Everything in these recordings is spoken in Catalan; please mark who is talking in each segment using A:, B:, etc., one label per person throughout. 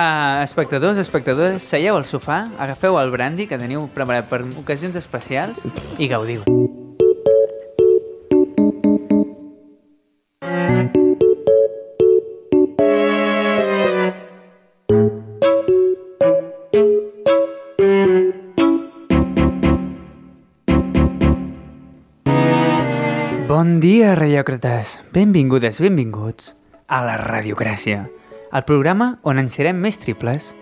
A: Uh, espectadors, espectadores, seieu al sofà, agafeu el brandy que teniu preparat per ocasions especials i gaudiu. Bon dia, radiòcrates. Benvingudes, benvinguts a la Radiocràcia, el programa on ens serem més triples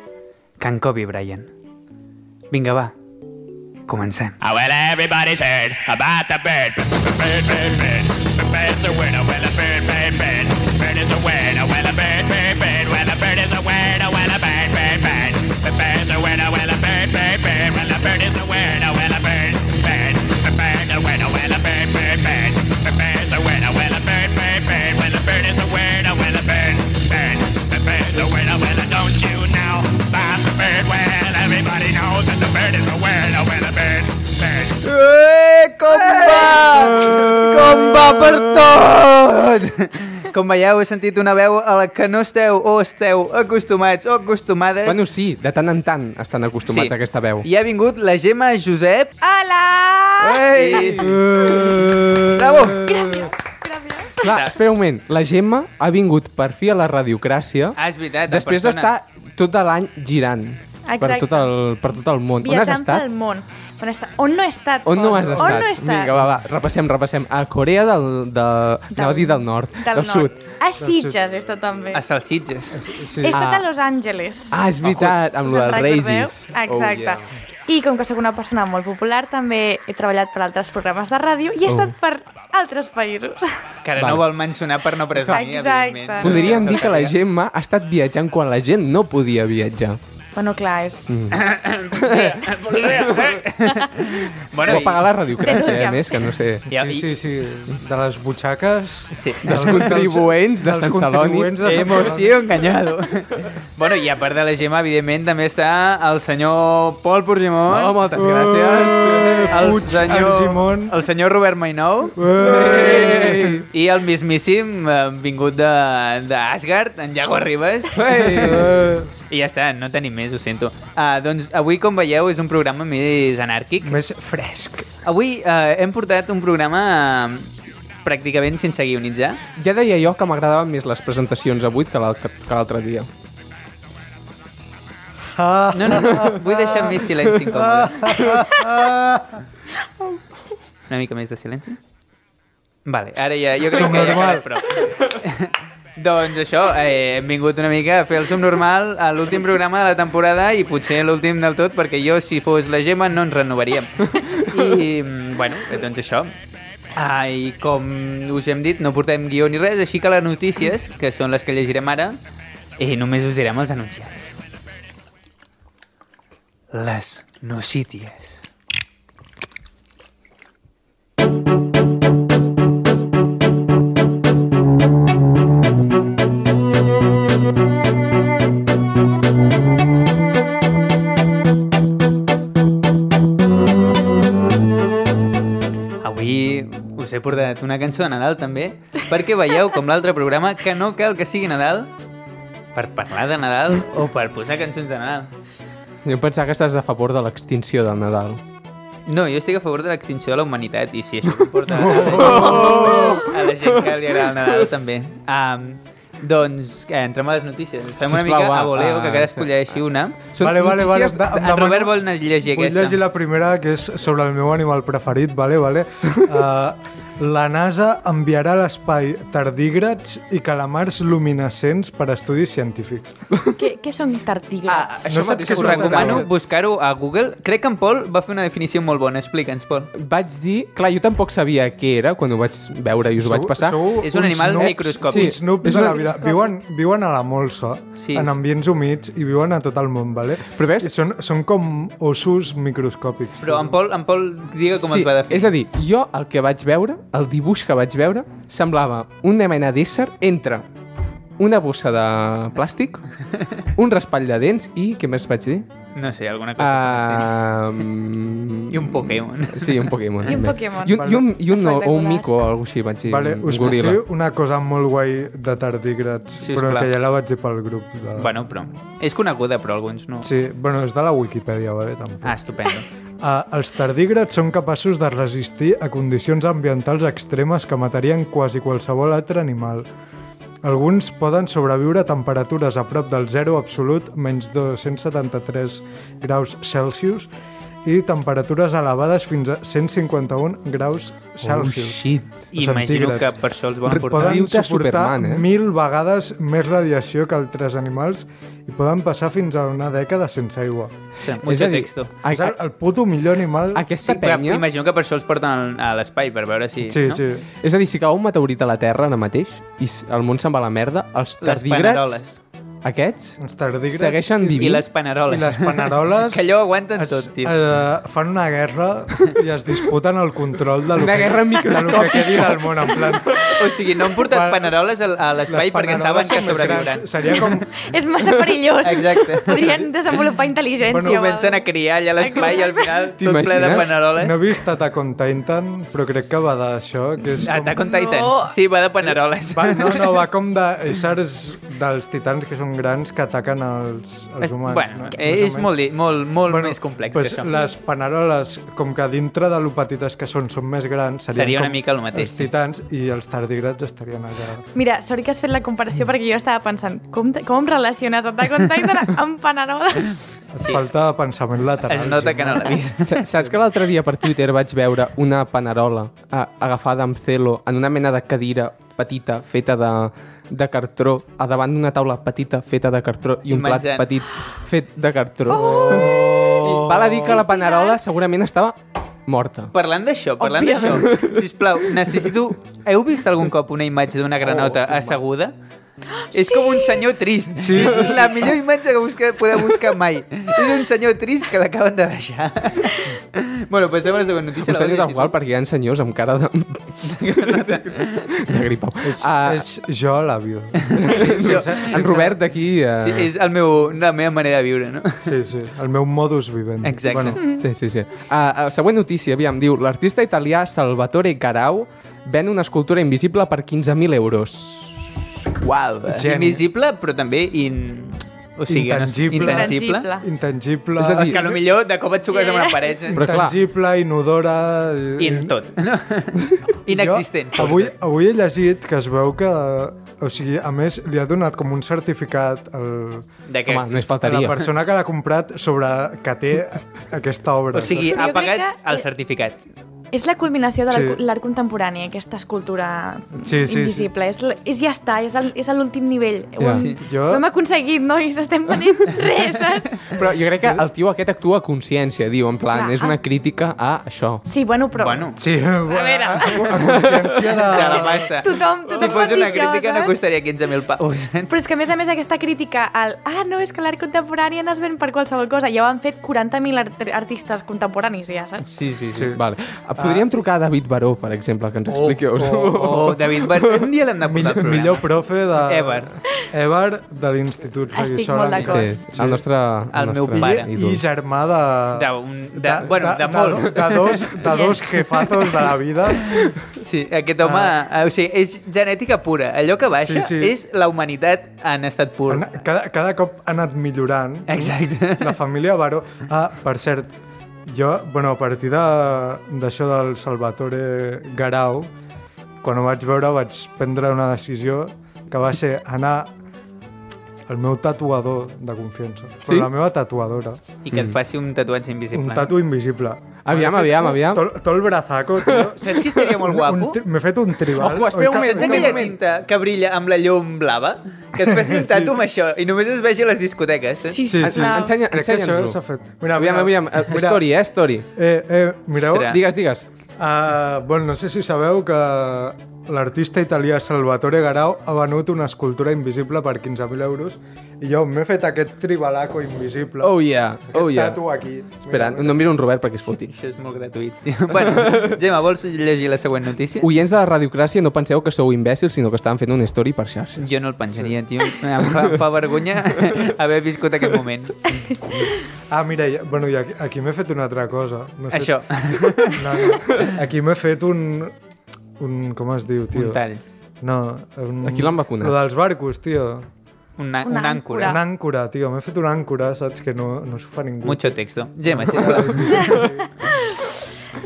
A: que en Kobe Bryant. Vinga, va, comencem.
B: Oh, well, everybody's heard about the bird. Bird, bird, bird. The bird's a word. Oh, well, a bird, bird, bird. Bird is a word. Oh, well, a bird, bird, bird. Well, a bird is a word. Oh, well, a bird, bird, bird. The bird's a word. Oh, well, a bird, bird, bird. Well, a bird is a word. Oh, well, a bird, bird. The bird's a word. Oh, well, a bird, bird, bird. The bird's a word. Oh, well, a bird, bird, bird. Well, a bird is a word. Oh, well, a bird, bird. The bird's a word. Oh, well, don't you know about the bird? Well, everybody knows that the bird is a word. Oh, well, a bird, bird.
A: Eh, com va? Com va per tot? Com veieu, he sentit una veu a la que no esteu o esteu acostumats o acostumades.
C: Bueno, sí, de tant en tant estan acostumats sí. a aquesta veu.
A: Eh. I ha vingut la Gemma Josep. Ah,
D: Hola!
A: Ei!
D: Eh.
A: Bravo!
D: Gràcies.
C: Clar, espera un moment. La Gemma ha vingut per fi a la radiocràcia
A: Ah, és veritat, en
C: després
A: persona.
C: d'estar tot l'any girant per
D: Exacte.
C: tot, el, per tot el món. On has
D: Viatjant
C: estat?
D: pel món. On, està? on no he estat?
C: On no
D: Pol?
C: has estat?
D: On no he estat?
C: Vinga, va, va, repassem, repassem. A Corea del... De... Anava a dir del nord,
D: Del,
C: del, sud.
D: A Sitges he estat també.
A: A Salsitges.
C: Sí.
D: He estat
C: Ah.
D: a Los Angeles.
C: Ah, és veritat, amb
D: Us
C: la
D: en recordeu?
C: Raisis.
D: Exacte.
C: Oh, yeah.
D: I com que sóc una persona molt popular, també he treballat per altres programes de ràdio i he
C: Oh.
D: estat per altres països.
A: Que ara no
C: Val.
A: vol mencionar per no presumir,
D: Exacte.
A: evidentment.
C: Podríem dir que la Gemma ha estat viatjant quan la gent no podia viatjar.
D: bueno, clar, és...
C: Mm.
A: Bueno,
C: Bueno, o pagar la radiocràcia, eh,
D: Denúncia.
C: a més, que no sé...
A: i, i,
E: Sí, sí, sí. De les butxaques...
A: Sí.
C: Dels contribuents de
E: dels
C: Sant Celoni. Eh,
E: contribuents de Sant Celoni.
A: Emoció enganyado. bueno, i a part de la Gemma, evidentment, també està el senyor Pol Porgimon.
C: Oh, moltes gràcies.
A: el
E: Eh, Puig,
A: senyor,
E: Argimon.
A: el senyor Robert Mainou
E: Eh.
C: Ei!
A: i el mismíssim eh, vingut de- d'Asgard, en Iago Ribas.
E: Eh,
C: Ei!
A: I ja està, no tenim més, ho sento. Ah, doncs avui, com veieu, és un programa més anàrquic.
E: Més fresc.
A: Avui eh, hem portat un programa eh, pràcticament sense guionitzar.
C: Ja deia jo que m'agradaven més les presentacions avui que l'al- que l'altre dia.
E: Ah,
A: No, no, vull deixar més silenci incòmode. Una mica més de silenci. Vale, ara ja, jo crec que ja queda
E: Subnormal.
A: prou. doncs això, eh, hem vingut una mica a fer el subnormal a l'últim programa de la temporada i potser l'últim del tot, perquè jo, si fos la Gemma, no ens renovaríem. I, mm, bueno, eh, doncs això. Ah, I com us hem dit, no portem guió ni res, així que les notícies, que són les que llegirem ara, i només us direm els anunciants. Les nocíties. Avui us he portat una cançó de Nadal també, perquè veieu com l'altre programa que no cal que sigui Nadal per parlar de Nadal o per posar cançons de Nadal.
C: Jo em pensava que estàs a favor de l'extinció del Nadal.
A: No, jo estic a favor de l'extinció de la humanitat i si això comporta a la gent, a la gent que li agrada el Nadal també. Um, doncs, eh, entrem a les notícies. Fem una
C: Sisplau,
A: mica a
C: va,
A: voleo, que
C: ah,
A: cadascú llegeixi una.
E: Vale, vale, vale,
C: notícies
E: em da- em
A: En
E: demano-
A: Robert vol llegir
E: Vull
A: aquesta.
E: llegir la primera, que és sobre el meu animal preferit, vale, vale. Uh, la NASA enviarà a l'espai tardígrads i calamars luminescents per a estudis científics.
D: què, què són
C: Ah,
D: tardígrads?
C: això
E: No saps
C: mateix
E: què és
A: Us
C: us
E: un
A: recomano
E: tardígrad.
A: buscar-ho a Google. Crec que en Pol va fer una definició molt bona. Explica'ns, Pol.
C: Vaig dir... Clar, jo tampoc sabia què era quan ho vaig veure i us ho vaig passar.
A: És un animal microscòpic.
C: Sí.
E: Snoops
C: És
E: de
C: una-
E: la vida. Viuen, viuen a la molsa,
A: Sí.
E: sí. en ambients humits, i viuen a tot el món, vale?
C: Però veus-
E: I són, són com ossos microscòpics.
A: Però en Pol, en Pol digue com
C: sí,
A: es va definir.
C: és a dir, jo el que vaig veure, el dibuix que vaig veure, semblava una mena d'ésser entre una bossa de plàstic, un raspall de dents i... Què més vaig dir?
A: No sé, alguna cosa. fantàstica.
C: Ah,
A: I un Pokémon.
C: Sí, un Pokémon.
D: I un
C: també.
D: Pokémon.
C: I un, i un, i un no, o un
D: Espectacular.
C: mico o alguna cosa així, vaig dir.
E: Vale,
C: un
E: us puc
C: goril·la.
E: dir una cosa molt guai de tardígrads,
A: Sí,
E: però
A: esclar.
E: que ja la vaig dir pel grup. De...
C: Ah.
A: Bueno, però... És coneguda, però alguns no.
E: Sí, bueno, és de la Wikipedia, vale, tampoc.
A: Ah, estupendo.
E: Uh, els tardígrads són capaços de resistir a condicions ambientals extremes que matarien quasi qualsevol altre animal. Alguns poden sobreviure a temperatures a prop del zero absolut, menys 273 graus Celsius, i temperatures elevades fins a 151 graus
C: Oh,
E: Celsius.
C: shit.
E: O
A: Imagino
E: centígrads.
A: que per això els van portar.
E: Poden
C: Diu-te
E: suportar
C: Superman, eh?
E: mil vegades més radiació que altres animals i poden passar fins a una dècada sense aigua.
A: Ostres,
C: És
A: Mucho
C: a dir,
A: texto.
C: a-
E: És el, el puto millor animal...
C: a- Aquesta
A: Sí, però
C: penya...
A: imagino que per això els porten al- a l'espai, per veure si...
E: Sí,
A: no?
E: sí.
C: És a dir, si cau un meteorit a la Terra ara mateix i s- el món se'n va a la merda, els
A: Les
C: tardígrads,
A: paneroles.
C: aquests,
E: Els tardígrads
C: segueixen
A: I
C: vivint.
A: les paneroles.
E: i les paneroles...
A: Que allò ho aguanten
E: es,
A: tot, tio.
E: Eh, fan una guerra i es disputen el control de lo
C: Una
E: que,
C: guerra
E: de lo que quedi del món, en plan...
A: O sigui, no han portat
E: Bueno,
A: paneroles al- a l'espai
E: les
A: perquè saben
E: paneroles
A: que
E: són més
A: sobreviuran.
E: grans. Seria com...
D: És massa perillós.
A: Exacte.
D: Podrien desenvolupar intel·ligència.
A: Bueno, comencen
D: val?
A: a criar allà a l'espai i al final tot
C: T'imagines?
A: ple de paneroles.
E: No he vist Attack on Titan, però crec que va d'això, que és com...
A: Attack on Ah, Titans.
D: No.
A: Sí, va de paneroles.
E: Va, no, no, va com d'éssers dels titans que són grans que ataquen els, els
A: És-
E: humans.
A: bueno, eh,
E: no? Més o
A: és
E: menys.
A: molt, di- molt, molt
E: Bueno,
A: més complex
E: pues
A: que això.
E: Les paneroles, com que dintre de lo petites que són, són més grans, serien
A: Seria una
E: com
A: mica el mateix,
E: Els
A: sí.
E: titans i els tardigrats estarien allà.
D: Mira, sort que has fet la comparació perquè jo estava pensant com, te- com relaciones Attack on Titan amb Panerola?
E: Et
A: Sí.
E: falta pensament lateral.
A: Es nota
E: sí,
A: que no l'ha vist.
C: Sa- Saps que l'altre dia per Twitter vaig veure una panerola a, agafada amb celo en una mena de cadira petita feta de, de cartró a davant d'una taula petita feta de cartró i un plat
A: Menjant.
C: petit fet de cartró. Oh! Val a dir que la panerola segurament estava morta.
A: Parlant d'això, parlant d'això, sisplau, necessito... Heu vist algun cop una imatge d'una granota asseguda? És com un senyor trist. Sí, sí, sí. La millor imatge que busca, podeu buscar mai. És un senyor trist que l'acaben de deixar. bueno, passem a la següent notícia.
C: Ho
A: la
C: sé
A: vas
C: és
A: llegir
C: igual
A: tu?
C: perquè hi ha senyors amb cara de... de gripau.
E: És,
C: Ah,
E: és jo a l'àvio.
A: Jo-
C: en Robert d'aquí... eh,
A: Sí, és el meu, la meva manera de viure, no?
E: Sí, sí, el meu modus vivendi.
A: Exacte.
C: Sí, sí, sí. Uh, uh, següent notícia, aviam, diu l'artista italià Salvatore Garau ven una escultura invisible per 15.000 euros. Uau!
E: Geni.
A: Invisible, però també in... O sigui,
E: Intangible.
A: No és, intangible.
D: Intangible.
E: Intangible,
C: És a
A: És que potser de cop et xoques amb una paret.
C: Però clar.
E: intangible, inodora...
A: I en tot. No? Inexistent.
E: Jo, avui, avui he llegit que es veu que... O sigui, a més, li ha donat com un certificat al,
A: De què?
C: Home, només
E: a la
C: faltaria.
E: persona que l'ha comprat sobre que té aquesta obra.
A: O sigui,
D: Però
A: ha
D: jo crec
A: pagat
D: que- eh,
A: el certificat.
D: És la culminació de l'art
E: Sí.
D: l'art contemporani, aquesta escultura
E: Sí, sí, sí.
D: invisible. És, l- és, ja està, és al- és a l'últim nivell. Ho hem-
A: Sí.
E: Jo-
D: Ho hem aconseguit, nois, estem venent res, saps?
C: Però jo crec que el tio aquest actua a consciència, diu, en plan,
D: Clar,
C: és una
D: ah.
C: crítica a això.
D: Sí, bueno, però...
A: Bueno,
E: Sí, a,
D: veure.
E: a, a consciència de...
A: de la pasta.
D: Tothom- tothom
A: Ah, si fos
D: pot dir
A: una
D: això,
A: crítica no
D: saps?
A: costaria 15.000 paus.
D: Però és que, a més a més, aquesta crítica al ah, no, és que l'art contemporani no es ven per qualsevol cosa, ja ho han fet 40.000 art artistes contemporanis, ja, saps?
A: Sí, sí,
E: sí.
C: Vale. Ah, Podríem trucar a David Baró, per exemple, que ens expliqui...
A: Oh, oh, oh, David, va, un dia l'hem de portar al
E: Millor,
A: programa.
E: millor profe de...
A: Ever.
E: Ever de l'Institut
D: Estic
E: Reguissol.
D: molt
C: Sí,
D: d'acord.
C: sí, el nostre...
A: El meu
C: nostre
A: pare.
E: I,
C: ídol.
E: I germà de...
A: De un- de- bueno, de molts.
E: De, de, dos, de dos jefazos de la vida.
A: Sí, aquest home... Ah. O sigui, és genètica pura. Allò que baixa
E: Sí,
A: sí,
E: sí.
A: sí. és la humanitat en estat pur.
E: Ana- Cada, cada cop ha anat millorant.
A: Exacte.
E: La família Baró... Ah, per cert, jo, bueno, a partir de- d'això de, del Salvatore Garau, quan ho vaig veure vaig prendre una decisió que va ser anar al meu tatuador de confiança, però
C: Sí?
E: la meva tatuadora,
A: I que et faci un tatuatge invisible.
E: un tatu invisible.
C: Aviam, aviam, aviam.
E: Tot, tot el brazaco, tio.
A: Saps qui estaria molt
E: Un-
A: guapo?
E: un tri- M'he fet un tribal.
C: Ojo, espera un
E: Oi, que-
A: Saps
C: moment,
A: aquella tinta que brilla amb la llum blava? Que et faci un tatu amb això i només es vegi a les discoteques. eh?
E: Sí, sí.
D: Clar.
C: Ensenya,
E: Crec que això
C: Ensenya'ns-ho.
E: s'ha fet. Mira,
C: Aviam,
E: mira,
C: aviam. eh,
E: mira.
C: Story, eh? Story.
E: Eh, eh, mireu,
A: Ostres.
C: Digues, digues.
E: Ah, bueno, no sé si sabeu que l'artista italià Salvatore Garau ha venut una escultura invisible per 15.000 euros i jo m'he fet aquest tribalaco invisible.
C: Oh yeah,
E: Aquest
C: oh yeah.
E: tatu aquí.
C: Espera, no miro un Robert perquè es foti.
A: Això és molt gratuït. tio. bueno, Gemma, vols llegir la següent notícia?
C: Oients de la radiocràcia, no penseu que sou imbècils, sinó que estan fent una story per xarxes.
A: Jo no el pensaria, tio. Em fa, em fa vergonya haver viscut aquest moment.
E: Ah, mira, i- bueno, i aquí, aquí m'he fet una altra cosa. M'he fet-
A: Això,
E: No, no. Aquí m'he fet un... un... Com es diu, tio?
A: un tall.
E: No. Un...
C: Aquí l'han vacunat.
E: Lo dels barcos, tio.
A: Una,
D: Una
A: una àncora.
E: Un àncora, tio. M'he fet un àncora, saps? Que no, no s'ho fa ningú.
A: Mucho texto. Gemma, sisplau.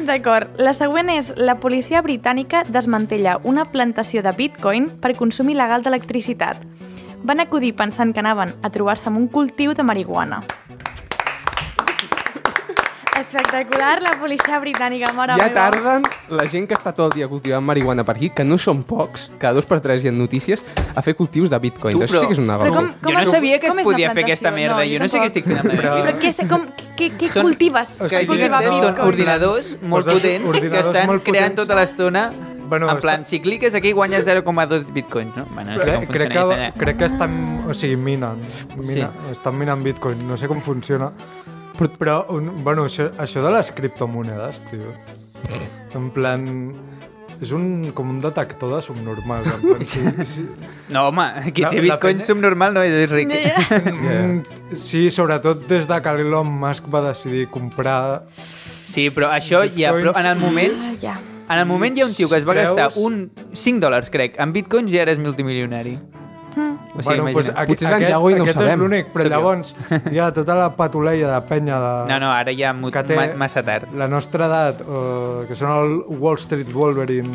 D: D'acord. La següent és la policia britànica desmantella una plantació de bitcoin per consum il·legal d'electricitat. Van acudir pensant que anaven a trobar-se amb un cultiu de marihuana. Espectacular, la policia britànica, mare
C: Ja
D: meva.
C: tarden la gent que està tot el dia cultivant marihuana per aquí, que no són pocs, cada dos per tres hi ha notícies, a fer cultius de bitcoins.
A: Tu,
C: Això sí
A: però-
C: que és un negoci.
D: Però com, com
A: Jo no
D: és-
A: sabia que
D: com
A: es
D: és la
A: podia fer aquesta
D: plantació?
A: merda. jo no sé què
D: tampoc.
A: estic fent amb la meva
E: Però-
A: vida.
D: Però què, és- com, què, què
A: Són-
D: cultives?
E: O
A: Que
E: sigui,
D: Pots cultivar
A: diguem,
E: no,
A: són
E: no.
D: bitcoin?
A: ordinadors molt
E: Posats
A: potents que
E: ordinadors
A: estan
E: molt
A: creant
E: potents.
A: tota l'estona
E: Bueno,
A: en plan,
E: està-
A: si cliques aquí guanyes 0,2 bitcoins, no? Bueno, no sé com
E: Eh, Crec,
A: funciona
E: crec, que,
A: aquesta-
E: crec que estan... O sigui, minen. Mina,
A: Sí.
E: Estan minant bitcoin. No sé com funciona. Però, però un, bueno, això, això de les criptomonedes, tio. En plan... És un, com un detector de subnormals. En plan, si, si,
A: No, home, qui
E: La-
A: té
E: la
A: bitcoin
E: penya-
A: subnormal no és ric.
D: No, ja.
E: Mm, Sí, sobretot des de que l'Elon Musk va decidir comprar...
A: Sí, però això ja... Però en el moment...
D: Ah, ja.
A: En el moment hi ha un tio que es va
E: Veus?
A: gastar un 5 dòlars, crec, en bitcoins i ara és multimilionari.
D: Hmm.
A: O sigui, bueno, pues,
E: aqu-
C: Potser és en
E: aquest,
C: Yago i no ho
E: aquest
C: sabem.
E: és l'únic, però llavors hi ha tota la patuleia de penya de...
A: No, no, ara ja mu-
E: que té
A: ma- massa tard.
E: La nostra edat, eh, que són el Wall Street Wolverine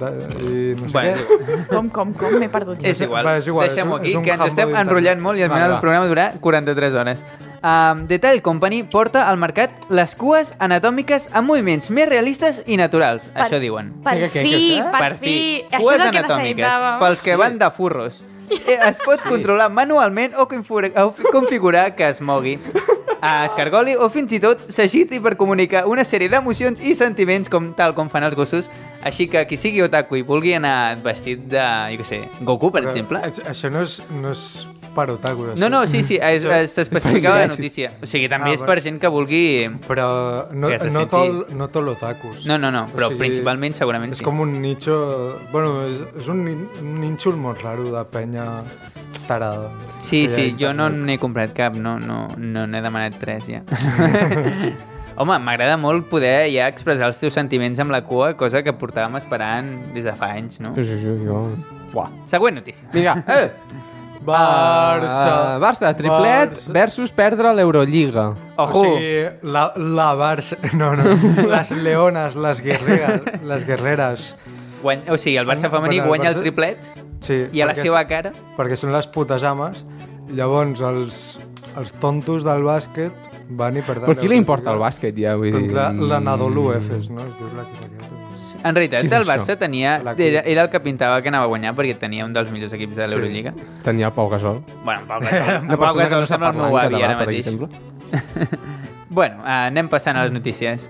E: de, i no sé
A: Bueno,
E: què.
D: Com, com, com? M'he perdut.
A: És igual,
E: Va, és igual,
A: deixem-ho
E: és un-
A: aquí,
E: és un
A: que ens
E: humble
A: estem
E: d'internet.
A: enrotllant molt i al
C: Va,
A: final
C: va.
A: el programa durarà 43 hores. Um, Detail Company porta al mercat les cues anatòmiques amb moviments més realistes i naturals,
D: Per-
A: això diuen.
D: Per
C: Què, què,
D: fi,
C: què, què?
D: per fi. Això
A: Cues
D: és el que
A: anatòmiques,
D: necessitàvem.
A: pels que van de furros. Eh, Es pot controlar manualment o configura- o fi- configurar que es mogui, eh, es cargoli o fins i tot s'agiti per comunicar una sèrie d'emocions i sentiments com tal com fan els gossos. Així que qui sigui otaku i vulgui anar vestit de, jo què sé, Goku, per
E: Però
A: exemple.
E: aix- Això no és, no és per otakus.
A: No, no, sí, sí, és-
E: Això-
A: és- s'especificava la
C: Sí, sí.
A: notícia. O sigui, també
E: Ah,
A: és
E: bueno.
A: per gent que vulgui...
E: Però no,
A: Que se
E: no,
A: senti-
E: tol, no tol otakus.
A: No, no, no, però
E: O sigui,
A: principalment segurament
E: És
A: sí.
E: com un nicho... Bueno, és, és un, nin- un nínxol molt raro de penya tarada.
A: Sí,
E: Que hi ha
A: sí, jo no
E: internet.
A: n'he comprat cap, no no, no n'he demanat tres ja. Home, m'agrada molt poder ja expressar els teus sentiments amb la cua, cosa que portàvem esperant des de fa anys, no?
C: Sí, sí, sí, jo... Buah.
A: Següent notícia.
C: Vinga, eh!
E: Barça.
C: Ah, Barça, triplet
E: Barça.
C: versus perdre l'Eurolliga.
A: Ojo!
E: O sigui, la, la Barça... No, no. Les leones, les guerreras. Les guerreres.
A: Guany... O sigui, el Barça femení
E: Bueno, el
A: guanya el
E: Barça-
A: triplet
E: Sí,
A: i a la
E: perquè-
A: seva cara...
E: Perquè són les putes ames. Llavors, els, els tontos del bàsquet van i perden...
C: Per qui li importa el bàsquet, ja? Vull dir...
E: Contra la Nadolu
C: mm,
E: Efes, no? Es diu l'equip aquest.
A: En realitat,
C: Què és
A: el
C: això?
A: Barça tenia...
E: La cua.
A: Era, era el que pintava que anava a guanyar perquè tenia un dels millors equips de
E: Sí.
A: l'Eurolliga. Sí.
C: Tenia Pau Gasol.
A: Bueno, en Pau Gasol.
C: Una
A: En Pau
C: persona que
A: Gasol
C: no sap
A: sembla el
C: parlar en
A: meu avi
C: català,
A: ara
C: per
A: mateix.
C: exemple.
A: Bueno, eh, anem passant a les notícies.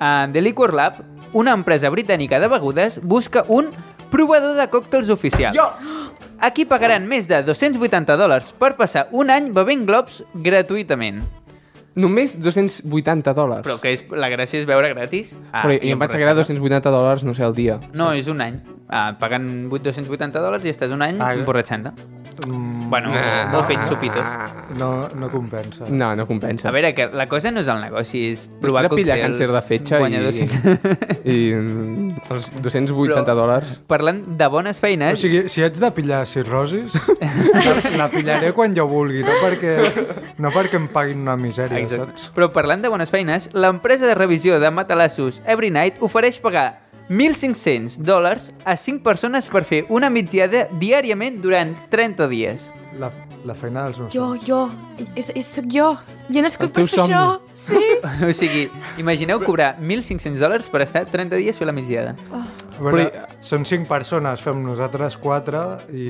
A: Uh, The Liquor Lab, una empresa britànica de begudes, busca un provador de còctels oficial.
C: Jo!
A: Aquí pagaran més de 280 dòlars per passar un any bevent globs gratuïtament.
C: Només 280 dòlars.
A: Però que és, la gràcia és beure gratis. Ah,
C: Però jo em vaig agradar 280 dòlars, no sé, al dia.
A: No, és un any. Ah, paguen 8 280 dòlars i estàs un any
E: Ah,
A: ah, emborratxant-te.
E: Mm,
A: Bueno,
C: Nah.
A: o fent sopitos.
E: no, no compensa.
C: No, no compensa.
A: A veure, que la cosa no és el negoci, és provar
C: Provar pillar
A: còctels,
C: càncer de fetge
A: guanyar
C: i,
A: 200.
C: i mm, els 280
A: Però-
C: dòlars.
A: Parlant de bones
E: O
A: feines...
E: sigui, si haig de pillar cirrosis, la, la pillaré quan jo vulgui, no perquè, no perquè em paguin una misèria,
A: Exacte.
E: saps?
A: Però parlant de bones feines, l'empresa de revisió de matalassos Every Night ofereix pagar 1.500 dòlars a 5 persones per fer una migdiada diàriament durant 30 dies.
E: La, la feina dels meus
D: Jo, jo, és, és, soc jo. Jo he
C: El
D: nascut
C: teu
D: per fer això.
C: somni.
D: Sí.
A: O sigui, imagineu cobrar 1.500 dòlars per estar 30 dies fent la migdiada.
E: A veure,
C: Però-
E: són cinc persones, fem nosaltres quatre i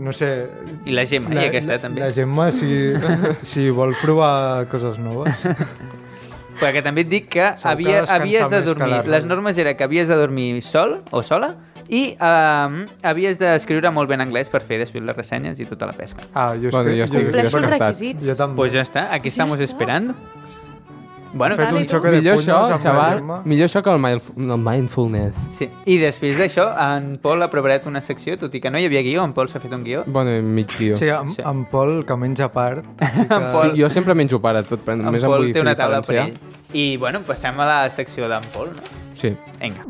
E: no sé...
A: I la Gemma, i aquesta eh, també.
E: La Gemma, si, si vol provar coses noves.
A: Perquè també et dic que
E: Segur que
A: havia,
E: descansar
A: havies de
E: més que la
A: dormir...
E: ràdio.
A: Les normes era que havies de dormir sol o sola I um, havies d'escriure molt ben anglès per fer després les ressenyes i tota la pesca.
E: Ah, jo,
C: Bueno, jo
E: escric-
C: estic
D: Compleixo els
C: descartat.
D: requisits.
E: jo també.
A: Pues ja està, aquí
D: Ja
A: estamos
D: està.
A: esperando. Bueno,
E: He fet un
D: Dale,
E: xoc de
C: Millor
E: punyos
C: això,
E: amb la
C: xaval,
E: Gemma.
C: millor això que el, mindf- el mindfulness.
A: sí. I després d'això, en Pol ha preparat una secció, tot i que no hi havia guió, en Pol s'ha fet un guió.
C: Bueno, i mig guió.
E: Sí, en,
A: Sí.
E: en Pol, que menja a part. i Que...
A: En Pol-
C: Sí, jo sempre menjo pare tot, però
A: En
C: només em
A: Pol
C: vull
A: té
C: fer
A: una taula per ell.
C: diferenciar.
A: I, bueno, passem a la secció d'en Pol, no?
C: Sí.
A: Vinga.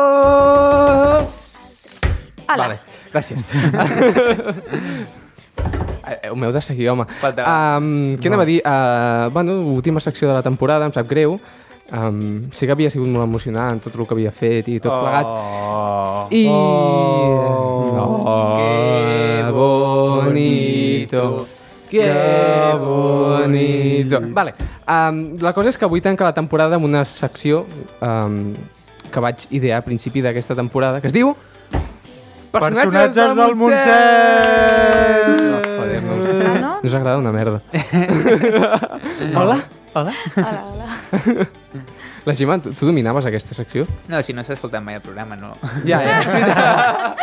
C: Amigos!
D: Ala.
C: Vale, gràcies. Eh, Ho m'heu de seguir, home.
A: Faltava.
C: Um, què anava a dir? Uh, bueno, última secció de la temporada, em sap greu. Um, sí que havia sigut molt emocionant tot el que havia fet i tot plegat.
A: Oh.
C: I...
E: Oh.
A: Que
C: no, bonito.
A: bonito.
C: Que bonito. Vale. Um, la cosa és que avui tanca la temporada amb una secció um, que vaig idear a principi d'aquesta temporada, que es diu...
E: Personatges del Montseny!
C: No, joder, no, us-
D: Ah, no?
C: no us agrada una merda. Hola?
A: Hola.
D: Hola, hola.
C: La Gemma, tu, tu dominaves aquesta secció?
A: No, si no s'ha escoltat mai el programa, no.
C: Ja, ja, és veritat.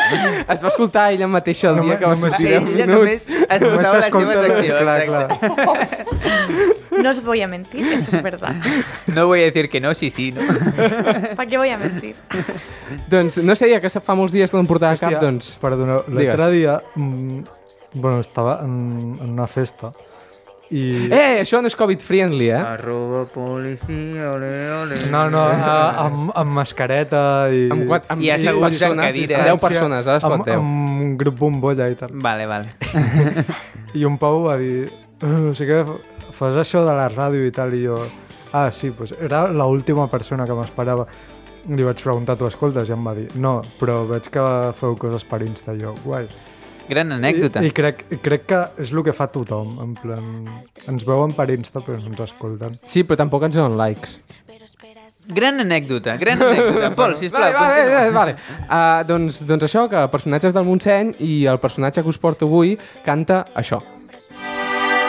C: Es va escoltar ella mateixa el dia
E: Només-
C: que va
E: només-
C: sortir
E: Sí,
A: Ella
C: deu
A: només
C: minuts.
E: Només
A: escoltava la seva
E: s'escolta-
A: secció.
E: Clar,
A: exacte.
E: clar.
D: No os voy a mentir, eso es verdad.
A: No voy a decir que no, sí, sí, no.
D: ¿Para qué voy a mentir?
C: Doncs no sé, ja que fa molts dies que no em portava
E: Hòstia,
C: cap, doncs...
E: Perdoneu, l'altre
C: Digues.
E: dia... Mm, bueno, estava en, en una festa i...
C: Eh, això no és covid-friendly, eh?
A: Arroba policia, ole, ole.
E: No, no, a, amb, amb mascareta i...
C: Amb, quat, amb
A: I
C: sis
A: asseguts en
C: persones,
E: eh?
A: cadires.
C: 10 persones, ara es pot
E: amb,
C: 10.
E: amb un grup bombolla i tal.
A: Vale, vale.
E: I un Pau va dir... "Eh, O sigui que fas això de la ràdio i tal, i jo... Ah, sí, doncs era l'última persona que m'esperava. Li vaig preguntar, tu escoltes? I em va dir, no, però veig que feu coses per Insta, I jo, guai.
A: Gran anècdota.
E: I, i crec, crec que és el que fa tothom, en plan... Ens veuen per Insta, però no ens escolten.
C: Sí, però tampoc ens donen likes.
A: Gran anècdota, gran anècdota. Pol, sisplau.
C: Vale, vale, vale. vale. Uh, doncs, doncs això, que personatges del Montseny i el personatge que us porto avui canta això.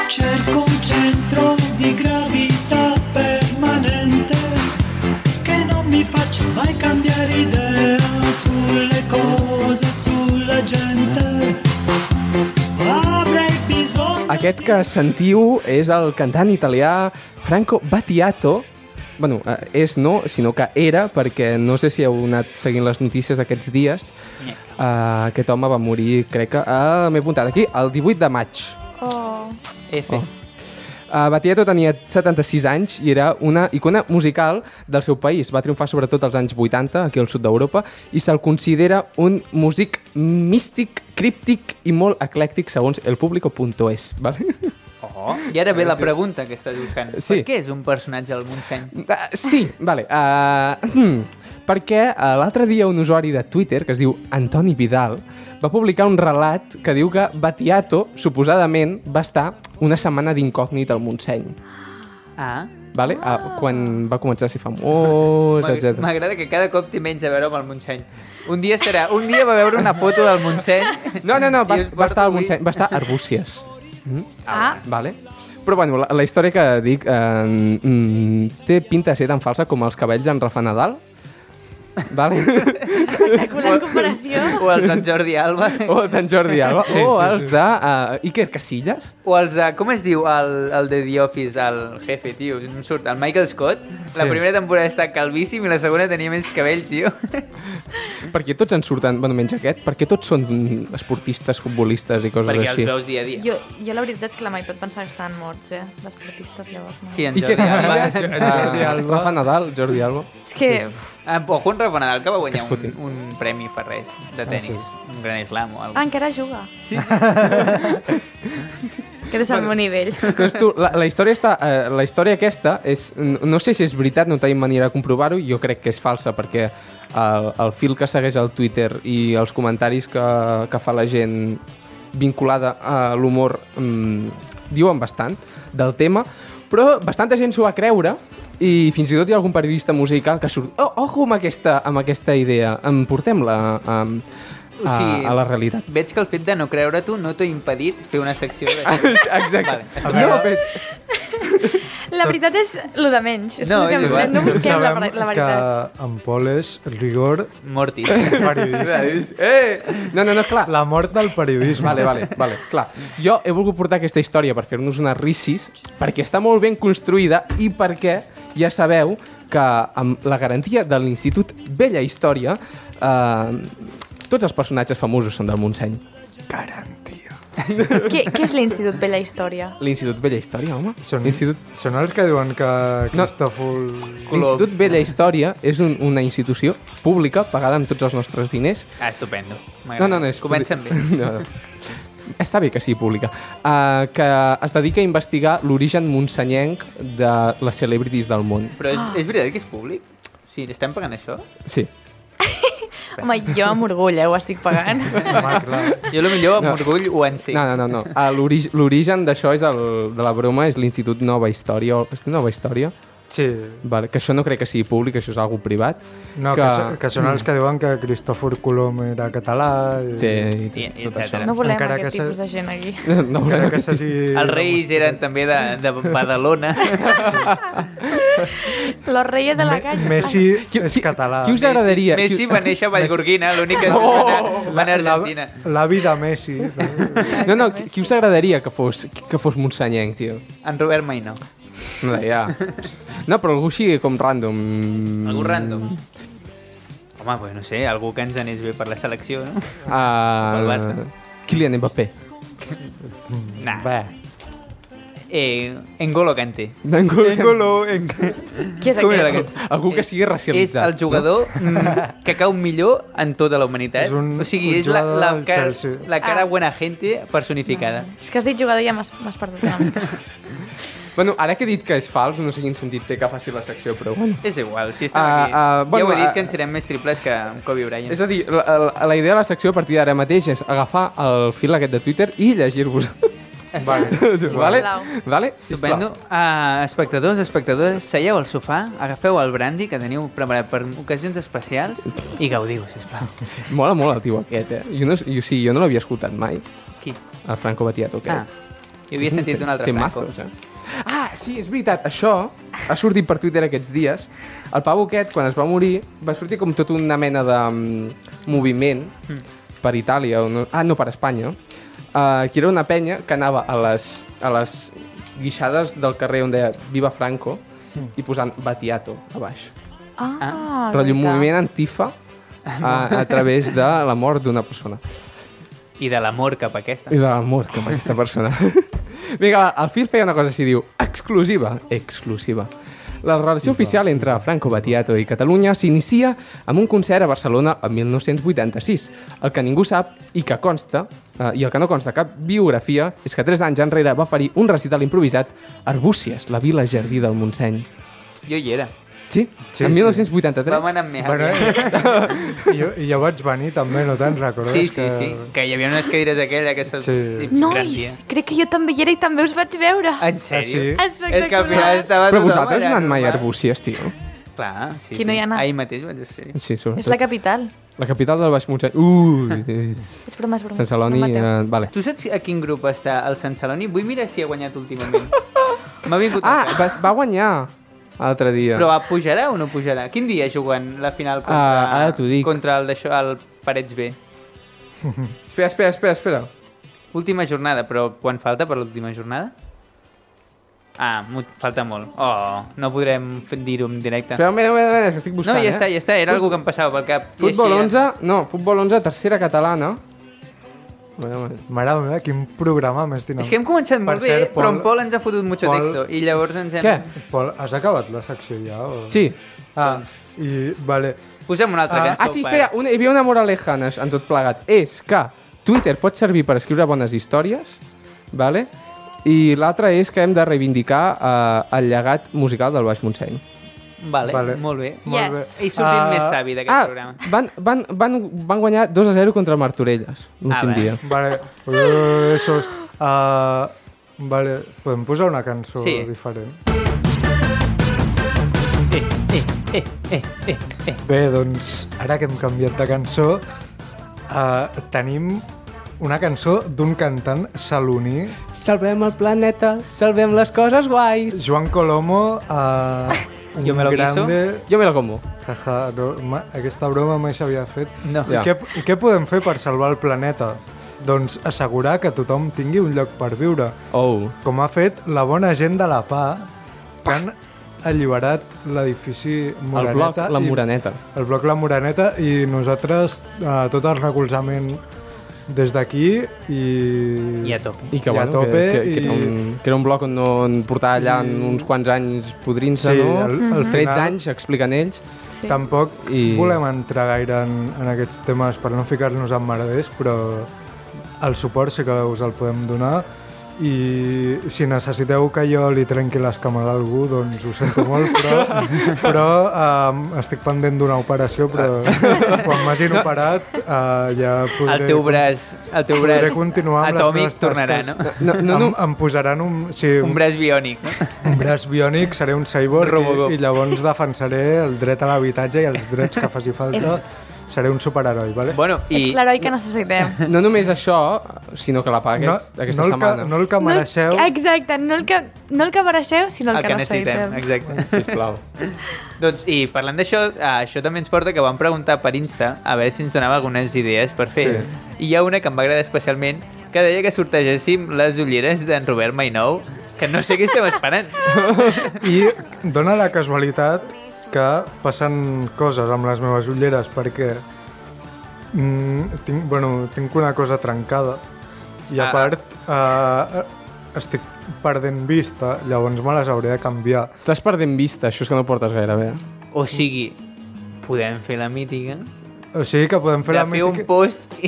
F: Cerco un centro di gravità permanente che non mi faccia mai cambiare idea sulle cose, sulla gente. Avrei bisogno
C: Aquest que sentiu és el cantant italià Franco Battiato. Bueno, eh, és no, sinó que era, perquè no sé si heu anat seguint les notícies aquests dies. Uh, aquest home va morir, crec que... Uh, M'he apuntat aquí, el 18 de maig.
D: Oh,
A: F.
C: Oh. Uh, Battiato tenia 76 anys i era una icona musical del seu país. Va triomfar sobretot als anys 80, aquí al sud d'Europa, i se'l considera un músic místic, críptic i molt eclèctic, segons elpublico.es. Vale?
A: Oh. I ara ve la pregunta que estàs buscant.
C: Sí.
A: Per què és un personatge del Montseny?
C: Uh, sí, vale. Uh, hmm, perquè uh, l'altre dia un usuari de Twitter, que es diu Antoni Vidal, va publicar un relat que diu que Batiato, suposadament, va estar una setmana d'incògnit al Montseny.
A: Ah.
C: Vale? Uh, quan va començar a ser famós,
A: M'ag-
C: etc.
A: M'agrada que cada cop té menys a veure amb el Montseny. Un dia serà... Un dia va veure una foto del Montseny...
C: No, no, no, va,
A: i us
C: va estar
A: porta
C: al
A: avui-
C: Montseny, va estar a Arbúcies. Mm?
D: ah,
C: Vale. Però bueno, la, la història que dic eh, mm, té pinta de ser tan falsa com els cabells d'en Rafa Nadal. Vale?
D: espectacular comparació.
A: O els d'en Jordi Alba.
C: o els d'en Jordi Alba. Sí, o els sí. de uh, Iker Casillas.
A: O els de... Com es diu el, el de The Office, el jefe, tio? No em surt. El Michael Scott. La
E: Sí.
A: primera temporada està calvíssim i la segona tenia més cabell, tio.
C: Perquè tots en surten, bueno, menys aquest, perquè tots són esportistes, futbolistes i coses
A: Perquè els
C: així.
A: veus dia a dia.
D: Jo, jo la veritat és que la meitat pensava que estaven morts, eh? D'esportistes, llavors. No.
A: Sí, en
C: I què
A: Jordi Alba.
C: Casillas?
E: Jordi
C: Uh,
E: Alba.
C: Rafa Nadal, Jordi Alba.
D: És que... uf,
A: Ah, Ojo, en Rafa Nadal, que va guanyar
C: Que es
A: un,
C: fotin. Ah,
A: un premi per res de tenis. Un gran slam o alguna
D: Ah, encara juga.
A: Sí,
D: Que és al meu nivell.
C: Doncs tu, la, la, història està, eh, la història aquesta és, no no sé si és veritat, no tenim manera de comprovar-ho, jo crec que és falsa perquè el, el fil que segueix al Twitter i els comentaris que, que fa la gent vinculada a l'humor mm, diuen bastant del tema, però bastanta gent s'ho va creure I fins i tot hi ha algun periodista musical que surt... Oh, ojo amb aquesta, amb aquesta idea, em portem-la a, a,
A: O sigui,
C: a la realitat.
A: Veig que el fet de no creure-t'ho no t'ho ha impedit fer una secció d'això.
C: Exacte.
A: Vale, a
C: no,
E: veure.
C: però,
D: La veritat és lo de menys.
A: No, és igual.
D: no busquem la,
E: Sabem
D: la veritat.
E: que en Pol és rigor
A: Mortis.
E: periodista.
C: eh! no, no, no, clar.
E: La mort del periodisme.
C: Vale, vale, vale, clar. Jo he volgut portar aquesta història per fer-nos unes rissis, perquè està molt ben construïda i perquè ja sabeu que amb la garantia de l'Institut Vella Història eh, tots els personatges famosos són del Montseny.
D: Què, què és l'Institut Vella Història?
C: L'Institut Vella Història, home.
E: Són,
C: Institut...
E: són els que diuen que
C: No.
E: Cristòfol...
C: L'Institut Vella Història és un, una institució pública pagada amb tots els nostres diners
A: Ah, estupendo.
C: No, no, no. És
A: Comença amb
C: públic.
A: bé.
C: No, no. Està bé que sigui pública. Uh, que es dedica a investigar l'origen monsenyenc de les celebrities del món.
A: Però és, és veritat que és públic? O sigui, estem pagant això?
C: Sí.
D: Home, jo amb orgull, eh, ho estic pagant.
E: Home, clar.
A: Jo el millor amb
C: No.
A: orgull ho encenc.
C: No, no, no. no. Uh, l'ori- L'origen d'això és el, de la broma, és l'Institut Nova Història. o- És Nova Història?
E: Sí.
C: Vale, que això no crec que sigui públic, això és algo privat.
E: No, que...
C: Que-
E: Que, so- que són els que diuen que Cristòfor Colom era català... i-
C: Sí, i tot,
A: I- i
C: tot això.
A: etcètera.
D: No volem
E: Encara
D: aquest
E: que se-
D: tipus de gent aquí.
C: No,
E: Encara
C: no,
E: que s'hagi...
A: Els reis eren també de, de Badalona.
D: Los reyes de la
E: Me-
D: calle.
E: Messi
C: Qui-
E: és
C: qui-
E: català.
C: qui us agradaria?
A: Messi
C: qui-
A: va néixer a Vallgorguina, l'únic que es va anar- va anar a
E: La-
A: Argentina.
E: L'avi de Messi.
C: No, no, qui, qui us agradaria que fos, que fos monsenyenc, tio?
A: En Robert Mainó.
C: No, ja. No, però algú sigui com random. Mm.
A: Algú random. Home, pues no sé, algú que ens anés bé per la selecció, no? Pel
C: Uh,
A: Barça.
C: Kylian Mbappé.
A: Nah.
E: Va.
A: Eh, N'Golo Kanté.
C: Ningú,
D: Qui és
A: Com era
D: aquest?
A: aquest? Eh,
C: Algú que sigui
A: És
C: racialitzat.
A: el jugador mm, que cau millor en tota la humanitat.
E: És un-
A: o sigui,
E: un
A: és la, la,
E: jugador del
A: cara,
E: Chelsea.
A: la cara
D: Ah.
A: buena gente personificada.
D: És que has dit jugador i ja m'has m'has perdut una mica.
C: No? Bueno, ara que he dit que és fals, no sé quin sentit té que faci la secció, però bueno.
A: És igual, si estem
C: Ah,
A: aquí.
C: ah, bueno,
A: ja ho he dit
C: ah,
A: que en serem més triples que amb Kobe Bryant.
C: És a dir, la, la, la idea de la secció a partir d'ara mateix és agafar el fil aquest de Twitter i llegir-vos.
A: Vale.
C: vale?
D: Sisplau.
C: Vale?
A: Estupendo. Uh, espectadors, espectadores, seieu al sofà, agafeu el brandy que teniu preparat per ocasions especials i gaudiu, sisplau.
C: Sisplau. Mola molt el tio aquest, eh? Jo no, jo, sí, jo no l'havia escoltat mai,
A: Qui?
C: el Franco Battiato. aquest.
A: Ah, jo havia sentit un altre
C: Té
A: Franco.
C: mazos, eh? Ah, sí, és veritat, això ha sortit per Twitter aquests dies. El Pau Boquet, quan es va morir, va sortir com tota una mena de mm, moviment per Itàlia, o no, ah, no, per Espanya, uh, que era una penya que anava a les, a les guixades del carrer on deia Viva Franco i posant Batiato a baix.
D: Ah,
C: Però un
D: veritat.
C: moviment antifa eh, a, a través de la mort d'una persona.
A: I de l'amor cap a aquesta.
C: I
E: Eh.
C: de l'amor cap a aquesta persona. Vinga, va, el Phil feia una cosa així, diu, exclusiva, exclusiva. La relació oficial entre Franco Battiato i Catalunya s'inicia amb un concert a Barcelona el 1986. El que ningú sap i que consta, eh, i el que no consta a cap biografia, és que tres anys enrere va oferir un recital improvisat a Arbúcies, la vila jardí del Montseny.
A: Jo hi era.
C: Sí?
E: Sí,
C: en
E: sí.
C: 1983?
A: Vam anar amb mi.
E: Bueno, eh? I jo, i jo vaig venir també, no te'n recordes?
A: Sí, sí,
E: que...
A: sí. Que hi havia unes cadires aquella que se'ls...
E: Sí.
A: tia.
D: Nois, crec que jo també hi era i també us vaig veure.
A: En sèrio?
E: Ah,
D: sí?
A: És que al final estava
C: Però
A: tothom
C: vosaltres
A: allà,
C: no anat mai
A: normal.
C: a Arbúcies, tio?
A: Clar, sí,
D: Qui no
A: sí.
D: hi ha anat?
A: Ahir mateix vaig ser.
C: Sí, sobretot.
D: És la capital.
C: la capital del Baix Montseny. Ui! és-
D: És broma, és broma.
C: Sant Celoni...
D: No em mateu.
C: eh, vale.
A: Tu saps a quin grup està el Sant Celoni? Vull mirar si ha guanyat últimament. M'ha vingut al
C: Ah,
A: cap.
C: va, va guanyar l'altre dia.
A: Però va, pujarà o no pujarà? Quin dia juguen la final contra,
C: Ah, ara t'ho dic.
A: contra el, d'això, el Parets B?
C: Espera, espera, espera, espera.
A: Última jornada, però quan falta per l'última jornada? Ah, mu- falta molt. Oh, no podrem fer- dir-ho en directe.
C: Espera, mira, mira, mira, que estic
A: no,
C: buscant,
A: ja
C: eh?
A: està, ja està, era algú que em passava pel cap. I
C: Futbol
A: així, eh?
C: 11, no, futbol 11, tercera catalana. Bueno, bueno.
E: Mare meva, quin programa més
A: Ja.
E: dinàmic.
A: És que hem començat molt
E: Per
A: bé,
E: cert,
A: però en
E: Pol-
A: Pol ens ha fotut mucho
E: Pol-
A: texto i llavors ens hem...
C: Què?
E: Pol, has acabat la secció ja? O...
C: Sí.
E: Ah, i... Vale.
A: Posem una altra
E: Ah.
A: cançó.
C: Ah, sí, espera,
A: pare.
C: una, hi havia una moraleja en, en tot plegat. És que Twitter pot servir per escriure bones històries, vale? i l'altra és que hem de reivindicar eh, el llegat musical del Baix Montseny.
A: Vale,
E: Vale.
A: molt bé.
D: Yes.
E: Molt bé.
A: He sortit
E: Ah,
A: més savi d'aquest
C: Ah,
A: programa.
C: van, van, van, van guanyar 2 a 0 contra el Martorelles l'últim
A: Ah, bé.
C: dia.
E: Vale. Uh, esos. ah, Uh, vale. Podem posar una cançó
A: Sí.
E: diferent.
A: Eh,
E: Bé, doncs, ara que hem canviat de cançó, eh, tenim una cançó d'un cantant saloní.
C: Salvem el planeta, salvem les coses guais.
E: Joan Colomo, eh, un
A: Yo me lo quiso.
E: grande...
C: Jo me la como.
E: Jaja, no, ma, aquesta broma mai s'havia fet.
A: No.
E: I,
C: Ja.
E: què, I què podem fer per salvar el planeta? Doncs assegurar que tothom tingui un lloc per viure,
C: Oh.
E: com ha fet la bona gent de la PA, que han alliberat l'edifici
C: El bloc,
E: Moraneta.
C: la
E: i-
C: moraneta.
E: El bloc La Moraneta i nosaltres eh, tot el recolzament des d'aquí i...
A: I a tope.
C: I que,
E: I a
C: bueno,
E: tope,
C: que, que, que, era
E: i- Mm.
C: un, que era un bloc on, no- on portava allà en uns quants anys podrint-se,
E: Sí,
C: no?
E: al-
A: Mhm.
E: al
C: 13
E: final-
C: anys, expliquen ells.
D: Sí.
E: Tampoc
C: I-
E: volem entrar gaire en, en aquests temes per no ficar-nos en merders, però el suport sí que us el podem donar i si necessiteu que jo li trenqui les cames a algú, doncs ho sento molt, però, però um, estic pendent d'una operació, però quan m'hagin operat uh, ja podré...
A: El teu braç, el teu braç
E: podré continuar amb
A: atòmic
E: les meves
A: tornarà, no?
E: tasques.
C: No, no, no.
E: Em, em posaran un... Sí,
A: Un braç biònic, no?
E: un braç biònic, seré un cyborg
A: Robocop.
E: i, i llavors defensaré el dret a l'habitatge i els drets que faci falta. Seré un superheroi, vale?
A: Bueno,
D: Ets
A: i
D: l'heroi que necessitem.
C: No només això, sinó que la paga aquest, no, aquesta
E: no el
C: setmana.
E: Que, no el que
D: No,
E: mereixeu,
D: exacte, no el que, no el que mereixeu, sinó el,
A: el que necessitem, exacte.
C: Sisplau.
A: Doncs, i parlant d'això, eh, això també ens porta que vam preguntar per Insta a veure si ens donava algunes idees per fer. Sí. I hi ha una que em va agradar especialment, que deia que sortegéssim les ulleres d'en Robert Mainou, que no sé què estem esperant.
E: I dona la casualitat que passen coses amb les meves ulleres perquè mm, tinc, bueno, tinc una cosa trencada i a
A: Ah.
E: part eh, estic perdent vista, llavors me les hauré de canviar.
C: Estàs perdent vista, això és que no portes gaire bé.
A: O sigui, podem fer la mítica
E: O sigui que podem fer
A: de
E: la
A: fer un
E: mítica-
A: post i,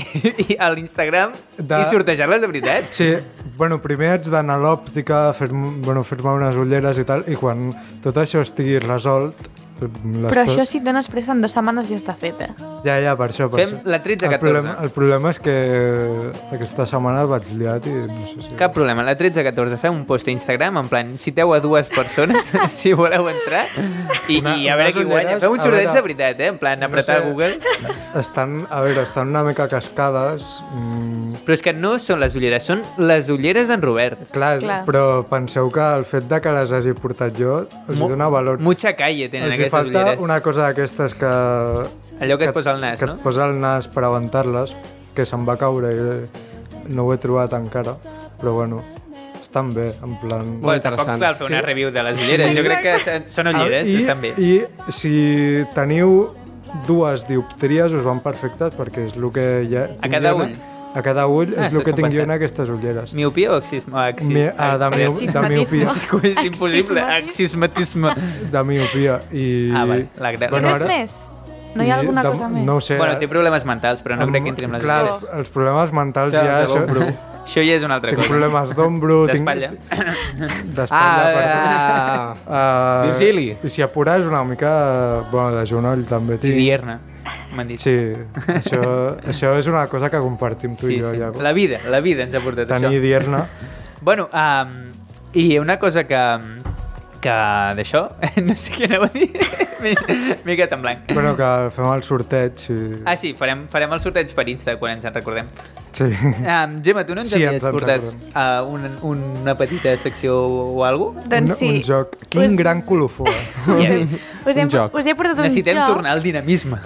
A: i a l'Instagram
E: De-
A: i sortejar-les de veritat.
E: Sí, bueno, primer haig d'anar a l'òptica, fer-me bueno, fer unes ulleres i tal, i quan tot això estigui resolt... Les
D: Però
E: co-
D: això si et dones pressa en dues setmanes ja està fet, eh?
E: Ja, ja, per això, per
A: Fem
E: això.
A: la 13-14.
E: El problema, el problema és que aquesta setmana vaig liat i no sé si...
A: Cap problema, la 13-14 fem un post a Instagram en plan, citeu a dues persones si voleu entrar i,
E: Una-
A: i a veure
E: unes
A: qui guanya.
E: ulleres,
A: Fem un
E: a
A: xordets
E: veure-
A: de veritat, eh? En plan, apretar
E: sé.
A: Google.
E: Estan, a veure, estan una mica cascades... Mm,
A: Però és que no són les ulleres, són les ulleres d'en Robert.
E: clar,
D: Clar.
E: però penseu que el fet de que les hagi portat jo els
A: Mu-
E: Mo dona valor.
A: Mucha calle tenen
E: Els hi
A: aquestes
E: falta
A: ulleres.
E: una cosa d'aquestes que...
A: Allò que es
E: et-
A: posa al nas,
E: que
A: no?
E: et posa al nas per aguantar-les, que se'n va caure i no ho he trobat encara, però bueno, estan bé, en plan...
C: Molt
A: tampoc
C: interessant.
A: cal fer una
E: Sí. Ah,
A: review de les ulleres. Jo crec que s- són ulleres,
E: I,
A: estan bé.
E: I si teniu dues dioptries us van perfectes perquè és el que ja...
A: A
E: tinc
A: cada
E: jo en-
A: ull.
E: A cada ull
A: Ah,
E: és el
A: estàs
E: que tinc jo en
A: compensat.
E: aquestes ulleres.
A: Miopia o axisme? Axi...
E: Mi- ah, de miop- de
A: Axismatisme.
E: miopia.
A: És que és impossible.
D: Axismatisme.
A: Axismatisme.
E: De miopia. I...
A: Ah, vale, la gra-
D: Bueno,
A: Bueno,
D: Res més? No hi ha
E: i
D: alguna
E: de-
D: cosa més?
E: No ho sé.
A: Bueno, té problemes mentals, però no
E: Amb-
A: crec que entri amb les
E: Clar,
A: ulleres.
E: els, els problemes mentals
C: Ja,
E: ja...
C: de
E: això-
C: bon bru.
A: Això ja és una altra
E: Tinc
A: cosa.
E: problemes d'ombro... tinc-
A: D'espatlla.
E: D'espatlla, perdó.
C: Ah, ah,
E: Ah,
C: Virgili.
E: I si apures una mica... Bueno, de genoll també
A: I
E: tinc.
A: dierna, m'han dit.
E: Sí, això, això és una cosa que compartim tu
A: sí,
E: i jo,
A: sí.
E: Iago.
A: La vida, la vida ens ha portat
E: Tenir
A: això.
E: dierna.
A: Bueno, um, i una cosa que... que d'això, no sé què anava a dir, m'he m'he quedat en blanc.
E: bueno, que fem el sorteig i...
A: Ah, sí, farem, farem el sorteig per Insta quan ens en recordem.
E: Sí.
A: Um, Gemma, tu no ens
E: Sí,
A: havies
E: ens en
A: portat
E: recordem.
A: uh, un, un, una petita secció o alguna
D: Doncs sí.
E: un, un joc. Quin
D: Us-
E: gran colofó. eh?
A: cosa?
D: Us he,
C: Un joc.
D: us he portat un
A: Necessitem
D: joc.
A: tornar al dinamisme.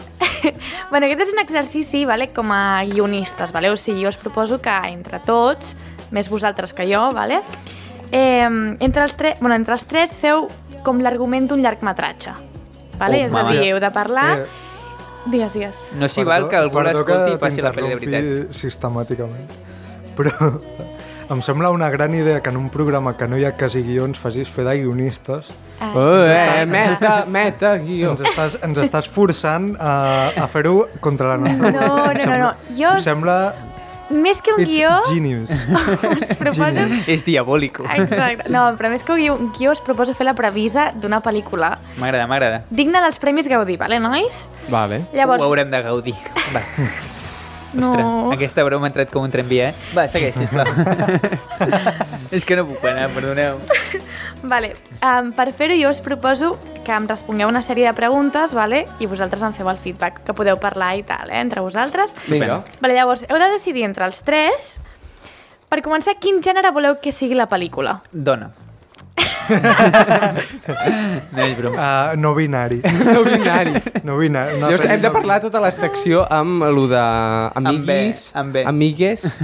D: Bueno, aquest és un exercici vale, com a guionistes, vale? o sigui, jo us proposo que entre tots, més vosaltres que jo, vale? eh, entre, els tre... bueno, entre els tres feu com l'argument d'un llargmetratge. Vale?
A: Oh,
D: és a
A: mama.
D: dir, heu de parlar...
E: Eh,
D: Digues, digues.
A: No s'hi val que algú
E: perdó que
A: l'escolti i faci la pel·li de
E: t'interrompi
A: veritat.
E: sistemàticament. Però em sembla una gran idea que en un programa que no hi ha quasi guions facis fer de guionistes.
D: Ah,
C: oh, eh, meta, meta, guió.
E: Ens estàs, ens estàs forçant a, a fer-ho contra la nostra
D: No, no, no, no. Jo,
E: Em sembla...
D: més que un
E: It's
D: guió,
E: genius.
D: us proposo...
A: És diabòlico.
D: Exacte. No, però més que un guió, un guió us proposo fer la previsa d'una pel·lícula
A: M'agrada, m'agrada.
D: digna dels Premis Gaudí, vale, nois?
C: Vale.
A: Ho
D: Llavors,
A: haurem de gaudir. Va. Ostres,
D: No.
A: aquesta broma ha entrat com un tramvia, eh? Va, segueix, sisplau. És que no puc parar, perdoneu.
D: Vale. Um, per fer-ho jo us proposo que em respongueu una sèrie de preguntes vale? i vosaltres em feu el feedback, que podeu parlar i tal, eh? entre vosaltres.
C: Vinga.
D: Vale, llavors, heu de decidir entre els tres, per començar, quin gènere voleu que sigui la pel·lícula?
A: Dona. no és broma.
E: Uh, no binari.
C: No binari.
E: No binari. No
C: Llavors, hem de parlar tota la secció amb lo de amiguis,
A: Amb bé, amb bé.
C: amigues...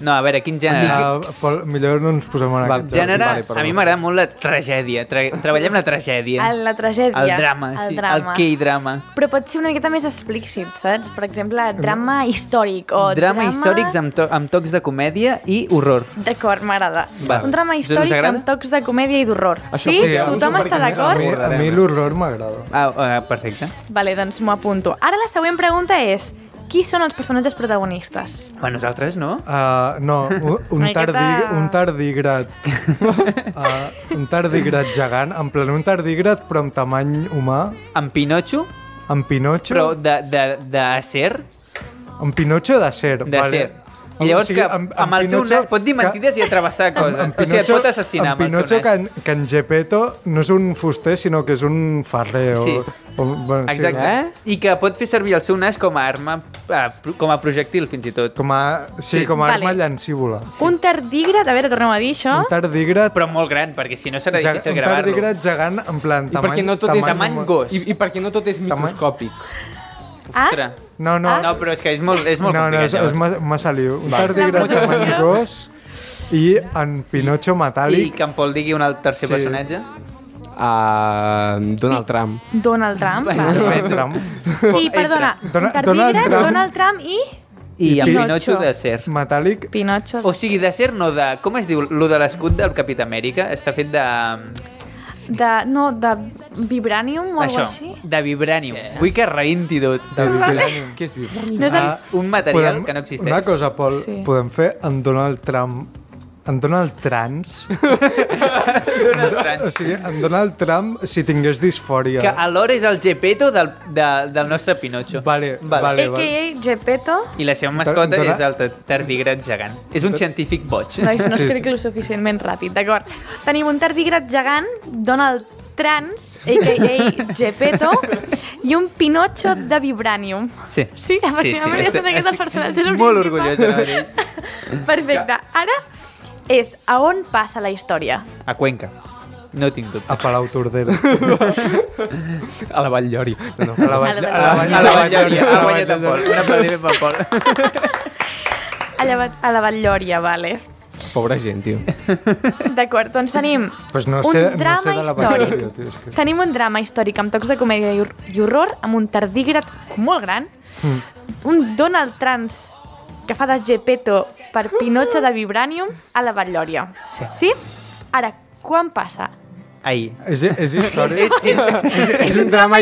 A: No, a veure, quin gènere?
E: Uh, Pol, millor no ens posem en
C: Val,
E: aquest.
C: ja-
A: Gènere,
C: Vale, perdó.
A: a mi m'agrada molt la tragèdia. Tra treballem la tragèdia.
D: El, la tragèdia.
A: el drama, sí.
D: El drama.
A: El K-drama.
D: Però pot ser una miqueta més explícit, saps? Per exemple, drama històric o
A: Drama,
D: drama...
A: històrics amb, to amb tocs de comèdia i horror.
D: D'acord, m'agrada.
A: Vale.
D: Un drama
A: Us
D: històric
A: agrada?
D: amb tocs de comèdia i d'horror.
C: Això
D: Sí?
C: sí,
E: a mi-
D: Tothom
E: perquè
D: està
E: a mi-
D: d'acord?
E: A mi, a mi l'horror m'agrada.
A: Ah, ah, perfecte.
D: Vale, doncs m'ho apunto. Ara la següent pregunta és qui són els personatges protagonistes?
A: Bueno, nosaltres no.
E: Uh, no, un, un,
D: Una miqueta-
E: tardi, un tardigrat uh, un tardigrat gegant en plan un tardigrat però amb tamany humà
A: Amb Pinocho,
E: amb Pinotxo
A: però de, de, de ser,
E: amb Pinotxo de ser
A: de ser. I llavors que amb, amb el seu nas pot dir mentides i atrevessar coses. o sigui, et pot assassinar amb,
E: amb Pinotxo
A: el seu nas.
E: que, en, que en Gepetto no és un fuster sinó que és un ferrer o,
A: Sí.
E: o, bueno, sí,
A: Exacte. I que pot fer servir el seu nas com a arma, eh, pro- com a projectil, fins i tot.
E: com a, sí,
A: Sí.
E: com a
D: Vale.
E: arma llancívola
D: Sí. Un tardígrad, a veure, torneu a dir això.
E: un tardigrat
A: Però molt gran, perquè si no serà
E: ge-
A: difícil
E: un
A: gravar-lo.
E: tardigrat gegant en plan
C: I perquè no tot és
A: tamany
E: humà.
A: gos.
C: I, I perquè no tot és microscòpic.
D: Ah?
A: Ostres.
E: no, no,
A: No, però és que és molt, és molt
E: no, no,
A: complicat. eh?
E: és, és
A: llavors.
E: ma- massa lío. Un tardigrat
D: La
E: amb en
D: moto.
E: gos i en Pinocho
A: I
E: metàl·lic.
A: que en Pol digui un altre tercer
E: Sí.
A: personatge.
C: Uh, Donald Trump.
D: Donald Trump. va.
E: Entra.
D: I, perdona,
E: Dona-
D: un tardígrad,
E: Donald
D: Donald
E: Trump.
D: Trump, i
A: I en
D: Pinocho.
A: Pinocho de ser.
E: Metàl·lic,
D: Pinocho.
A: O sigui, de ser no de... Com es diu? Lo de l'escut del Capità Amèrica està fet de...
D: De, no, de Vibranium o
A: mm, Això,
D: alguna així.
A: de vibranium. Vull que reinti tot. De vibranium.
C: Què és viu?
D: No és
E: Ah,
D: el...
A: Un material que no existeix.
E: Una cosa, Pol,
D: Sí.
E: podem fer en Donald Trump en Donald Trans, o
A: Donald
E: sigui, en Donald Trump si tingués disfòria.
A: que alhora és el Gepetto del, de, del nostre Pinocho.
E: Vale, vale, vale.
D: A.K.A. Gepetto.
A: I la seva mascota
E: Dona-
A: és el tar- tardigrat gegant. És un científic boig.
D: Nois, no
E: Sí,
D: escric
E: sí.
D: lo suficientment ràpid, d'acord. Tenim un tardígrad gegant, Donald Trans, a.k.a. Gepetto, i un Pinocho de Vibranium.
A: Sí.
D: Sí, efectivament, sí, sí.
A: estic-
D: són aquests els
A: estic
D: personatges
A: Molt
D: principals.
A: orgullós ara mateix.
D: Perfecte. Ara és a on passa la història.
A: A Cuenca. No tinc dubte.
E: A Palau Tordera.
C: A la Vall Llori. No,
E: A
C: no.
E: la
D: A la
E: Vall- a la Vall-
A: A la Vall
E: Llori,
A: Lloria.
E: a la
A: Ha
E: Vall
A: guanyat en Pol.
E: Llori.
A: Un aplaudiment per Pol.
D: A la, Va- a la Batllòria, vale.
C: Pobra gent, tio.
D: D'acord, doncs tenim
E: Pues no sé- no
D: un drama
E: sé de la Vall
D: històric.
E: Lloria, tio, és que-
D: Tenim un drama històric amb tocs de comèdia i hor- i horror, amb un tardígrad molt gran,
E: Mm.
D: un Donald Trans que fa de Gepetto per Pinocho de Vibranium a la Batllòria.
A: Sí.
D: sí? Ara, quan passa?
A: Ahir.
E: És, és història,
A: És, és,
C: és un drama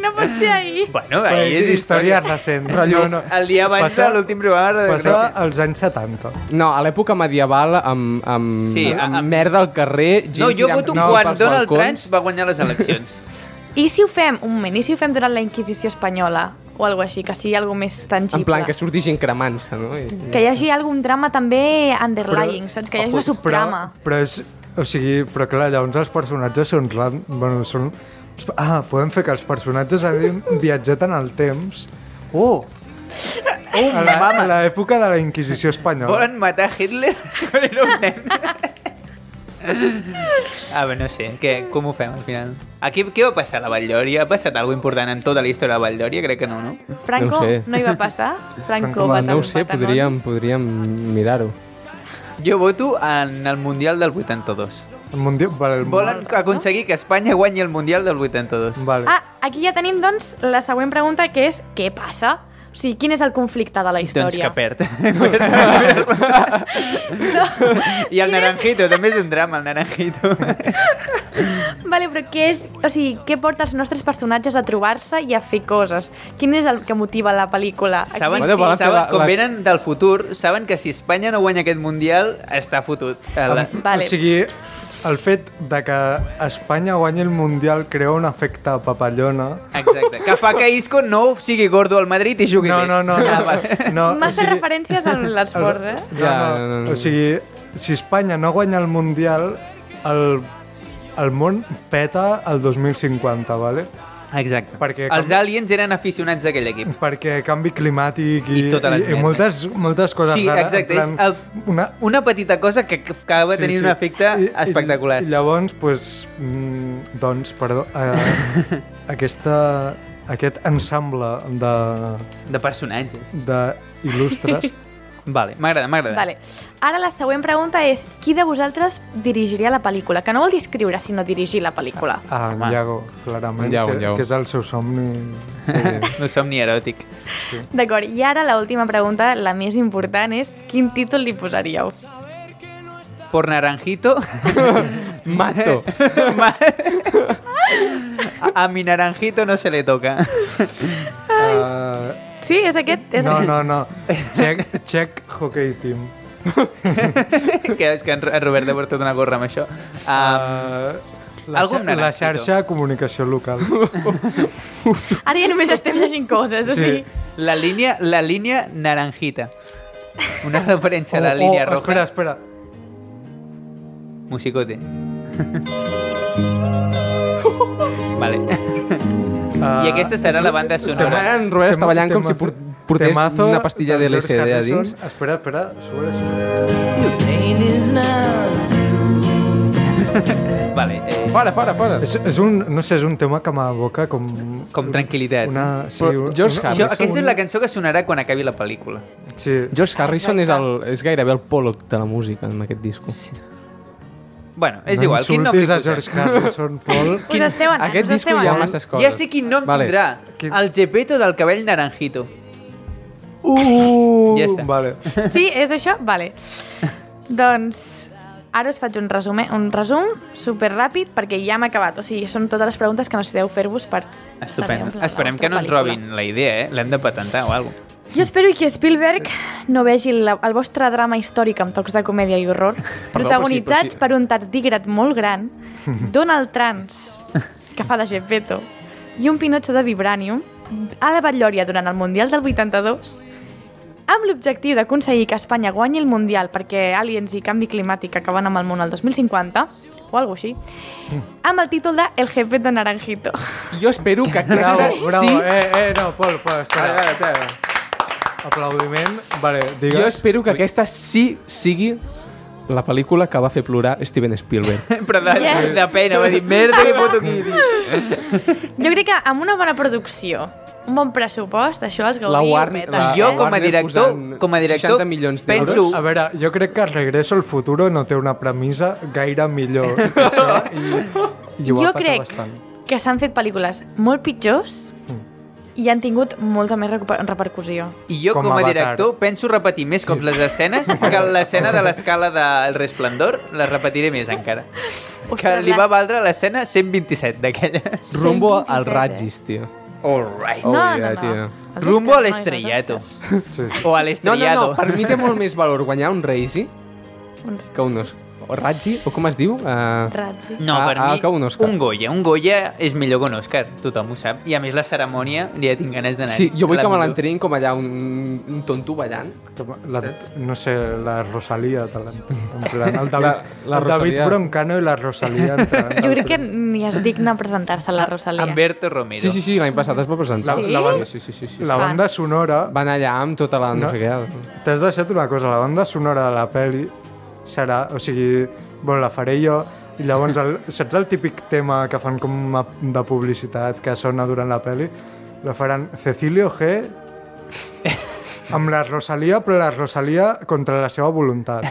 C: històric.
D: no pot ser ahir.
A: bueno,
E: però
A: ahir
E: és història recent. No, no.
A: El dia abans
E: Passa-
A: de l'últim programa de
E: Passava als anys 70.
C: No, a l'època medieval, amb, amb,
A: Sí,
C: sí,
A: a-
C: amb,
A: a-
C: merda al carrer... gent
A: No, jo
C: tirant
A: voto
C: no,
A: quan
C: pels
A: Donald
C: balcons.
A: Trump va guanyar les eleccions.
D: I si ho fem, un moment, i si ho fem durant la Inquisició espanyola? O alguna així, que sigui alguna més tangible.
C: En plan, que surti gent cremant-se, no? I,
D: Que hi hagi algun drama també underlying, saps? Que hi hagi una subtrama.
E: Però, però és... O sigui, però clar, llavors els personatges són... Ran, bueno, són... Ah, podem fer que els personatges hagin viatjat en el temps
A: Oh! Oh,
E: a la- a l'època de la Inquisició espanyola.
A: Volen matar Hitler quan era un nen. A veure, no sé, què, com ho fem al final? Aquí, què va passar a la Valldòria? Ha passat alguna important en tota la història de la Valldòria? Crec que no, no?
D: Franco
C: No ho sé.
D: no hi va passar? Franco
E: Franco,
D: va
C: No ho sé,
D: doncs.
C: podríem, podríem mirar-ho.
A: Jo voto en el Mundial del 82.
E: El mundial, vale, el
A: Volen aconseguir que Espanya guanyi el Mundial del 82.
E: Vale.
D: Ah, aquí ja tenim, doncs, la següent pregunta, que és què passa? O sigui, quin és el conflicte de la
A: Doncs que
D: història?
A: perd.
D: no.
A: I el Naranjito, també és un drama, el Naranjito.
D: Vale, però què és... O sigui, què porta els nostres personatges a trobar-se i a fer coses? Quin és el que motiva la pel·lícula?
A: Saben,
C: Bueno, volen fer
A: saben
C: la-
A: com
C: les-
A: venen del futur, saben que si Espanya no guanya aquest Mundial, està fotut. Eh, La...
D: Vale.
E: O sigui, El fet de que Espanya guanyi el Mundial crea un efecte a papallona.
A: Exacte. Que fa que Isco no sigui gordo al Madrid i jugui
E: No,
A: bé.
E: no, no.
A: Ja,
E: no,
A: vale.
E: no o
D: Massa
E: sigui-
D: referències a l'esport, eh?
E: No,
C: Ja, no,
E: no,
C: no, no.
E: O sigui, si Espanya no guanya el Mundial, el, el món peta el 2050, vale?
A: Exacte.
E: Perquè-
A: Els aliens eren aficionats d'aquell equip.
E: Perquè canvi climàtic i,
A: I tota la
E: i, i
A: merda.
E: moltes, moltes coses
A: Sí,
E: rares.
A: exacte,
E: en
A: és
E: Una,
A: Una petita cosa que que acaba sí, tenint un efecte
E: I- i-
A: espectacular.
E: I, llavors, pues, mm, doncs, perdó, eh, aquesta, aquest ensemble de,
A: De personatges.
E: de il·lustres
A: Vale, m'agrada, m'agrada.
D: Vale. Ara la següent pregunta és qui de vosaltres dirigiria la pel·lícula? Que no vol dir escriure, sinó dirigir la pel·lícula.
E: a
A: Home.
E: en ah, Iago, clarament,
C: En Iago,
E: que,
C: en Iago.
E: que és el seu somni.
A: No Eh, somni eròtic.
D: D'acord, i ara l'última pregunta, la més important, és quin títol li posaríeu?
A: Por naranjito.
C: Mato.
A: Ma- a, a mi naranjito no se le toca.
E: Uh,
D: Sí, és aquest? És
E: no,
D: aquest.
E: no, no. Check, check hockey team.
A: que és que en en Robert ha portat una gorra amb això. Um,
E: Uh, la,
A: Algú
E: xa
A: amb
E: la
A: naranjito.
E: xarxa de comunicació local.
D: Ara ja només estem llegint coses, o
E: Sí.
D: sigui...
A: la, línia, la línia naranjita. Una referència a la
E: Oh,
A: línia
E: oh,
A: roja.
E: Espera, espera.
A: Musicote. vale.
E: Uh,
A: I aquesta serà la banda sonora.
C: Ara en Robert està ballant com si por- portés una pastilla de LSD a dins.
E: Espera, espera, sobre, sobre.
A: Vale. Eh,
C: Fora, fora, fora.
E: És, és un, no sé, és un tema que m'aboca com...
A: com tranquil·litat.
E: Una, sí,
C: Però
E: un-
C: George
E: una-
A: Això,
C: Harrison.
A: aquesta és la cançó que sonarà quan acabi la pel·lícula.
E: Sí.
C: George Harrison és, el, és gairebé el Pollock de la música en aquest disco.
A: Bueno, és igual.
E: No
A: Quin nom li
E: insultis a
A: posem?
E: George Harrison, Paul.
D: Us esteu anant,
C: Aquest
D: us
C: disco
D: esteu
C: hi ha
D: anant.
C: masses coses.
A: Ja sé quin nom
C: Vale.
A: tindrà.
E: Quin-
A: El Gepetto del cabell naranjito.
E: Uh,
A: Ja està.
E: Vale.
D: Sí, és això? Vale. Doncs ara us faig un resum, eh? un resum super ràpid perquè ja hem acabat. O sigui, són totes les preguntes que necessiteu fer-vos per saber en
A: Estupendo.
D: plan la
A: Esperem
D: vostra
A: que no ens
D: pel·lícula.
A: robin la idea, eh? L'hem de patentar o alguna cosa.
D: Jo espero que Spielberg no vegi la, el vostre drama històric amb tocs de comèdia i horror, protagonitzats
C: però sí.
D: per un tardígrat molt gran, Donald Trans, que fa de Gepetto, i un Pinotxo de Vibranium, a la Batllòria durant el Mundial del 82, amb l'objectiu d'aconseguir que Espanya guanyi el Mundial perquè aliens i canvi climàtic acaben amb el món el 2050, o alguna així, amb el títol de El Gepetto Naranjito.
C: Jo espero que
E: Bravo,
C: aquesta
E: bravo.
C: sí...
E: Eh, eh, no, Pol, Pol,
C: Vale,
E: espera.
C: vale, espera.
E: Aplaudiment. Vale, digues.
C: Jo espero que aquesta sí sigui la pel·lícula que va fer plorar Steven Spielberg.
A: Però de,
D: Yes.
A: de pena, va dir, merda que foto aquí. tio."
D: Jo crec que amb una bona producció, un bon pressupost, això els
C: La
D: Gaudí ho
C: Warner-
D: peta.
C: la-
A: I jo,
C: eh?
A: com a
C: Warner
A: director,
C: posant
A: com a director,
C: 60 milions d'euros.
A: penso...
E: A veure, jo crec que Regreso al Futuro no té una premissa gaire millor. que Això, i, i ho
D: jo
E: apata
D: crec
E: bastant.
D: que s'han fet pel·lícules molt pitjors
C: Mm.
D: i han tingut molta més recuper- repercussió.
A: I jo,
E: com
A: com a
E: Avatar.
A: director, penso repetir més cops les escenes que l'escena de l'escala del Resplendor la repetiré més encara. Que
D: Ostres,
A: li va
D: les-
A: valdre l'escena 127 d'aquella.
C: Rumbo al
D: 127, eh?
C: Ragis, tio.
A: All right.
C: Oh,
D: no,
C: yeah,
D: no,
C: tio.
D: no. Els
A: Rumbo
D: Oscars,
A: al
D: nois, els
A: estrellato.
D: Oscars.
E: Sí, sí.
A: O al
C: No, no,
A: estrellado.
C: no, per mi té molt més valor guanyar un Ragis
D: Un
C: que un Oscar. O Raggi, o com es diu? Uh,
D: raig.
A: No,
C: Ah,
A: per
C: ah,
A: mi,
C: que un Òscar.
A: un Goya. Un Goya és millor que un Òscar, tothom ho sap. I a més la cerimònia ja tinc ganes d'anar.
C: sí, jo vull
A: La
C: que me
A: millor.
C: l'enterin com allà un, un tonto ballant.
E: La, no sé, la Rosalia te l'han- en plan, el David,
C: la
E: el David
C: Rosalía.
E: Broncano i la Rosalia entre-
D: Jo crec que ni es digna presentar-se
A: Ah,
D: a la Rosalia.
A: Humberto Romero.
C: Sí, sí, sí, l'any passat es va presentar.
E: La-
D: la van-
C: sí, sí, sí, sí.
E: la banda sonora
C: Van allà amb tota la... No,
E: No.
C: sé què.
E: t'has deixat una cosa, la banda sonora de la peli serà, o sigui bueno, la faré jo i llavors, el, saps el típic tema que fan com a- de publicitat que sona durant la peli? La faran Cecilio G amb la Rosalia, però la Rosalia contra la seva voluntat.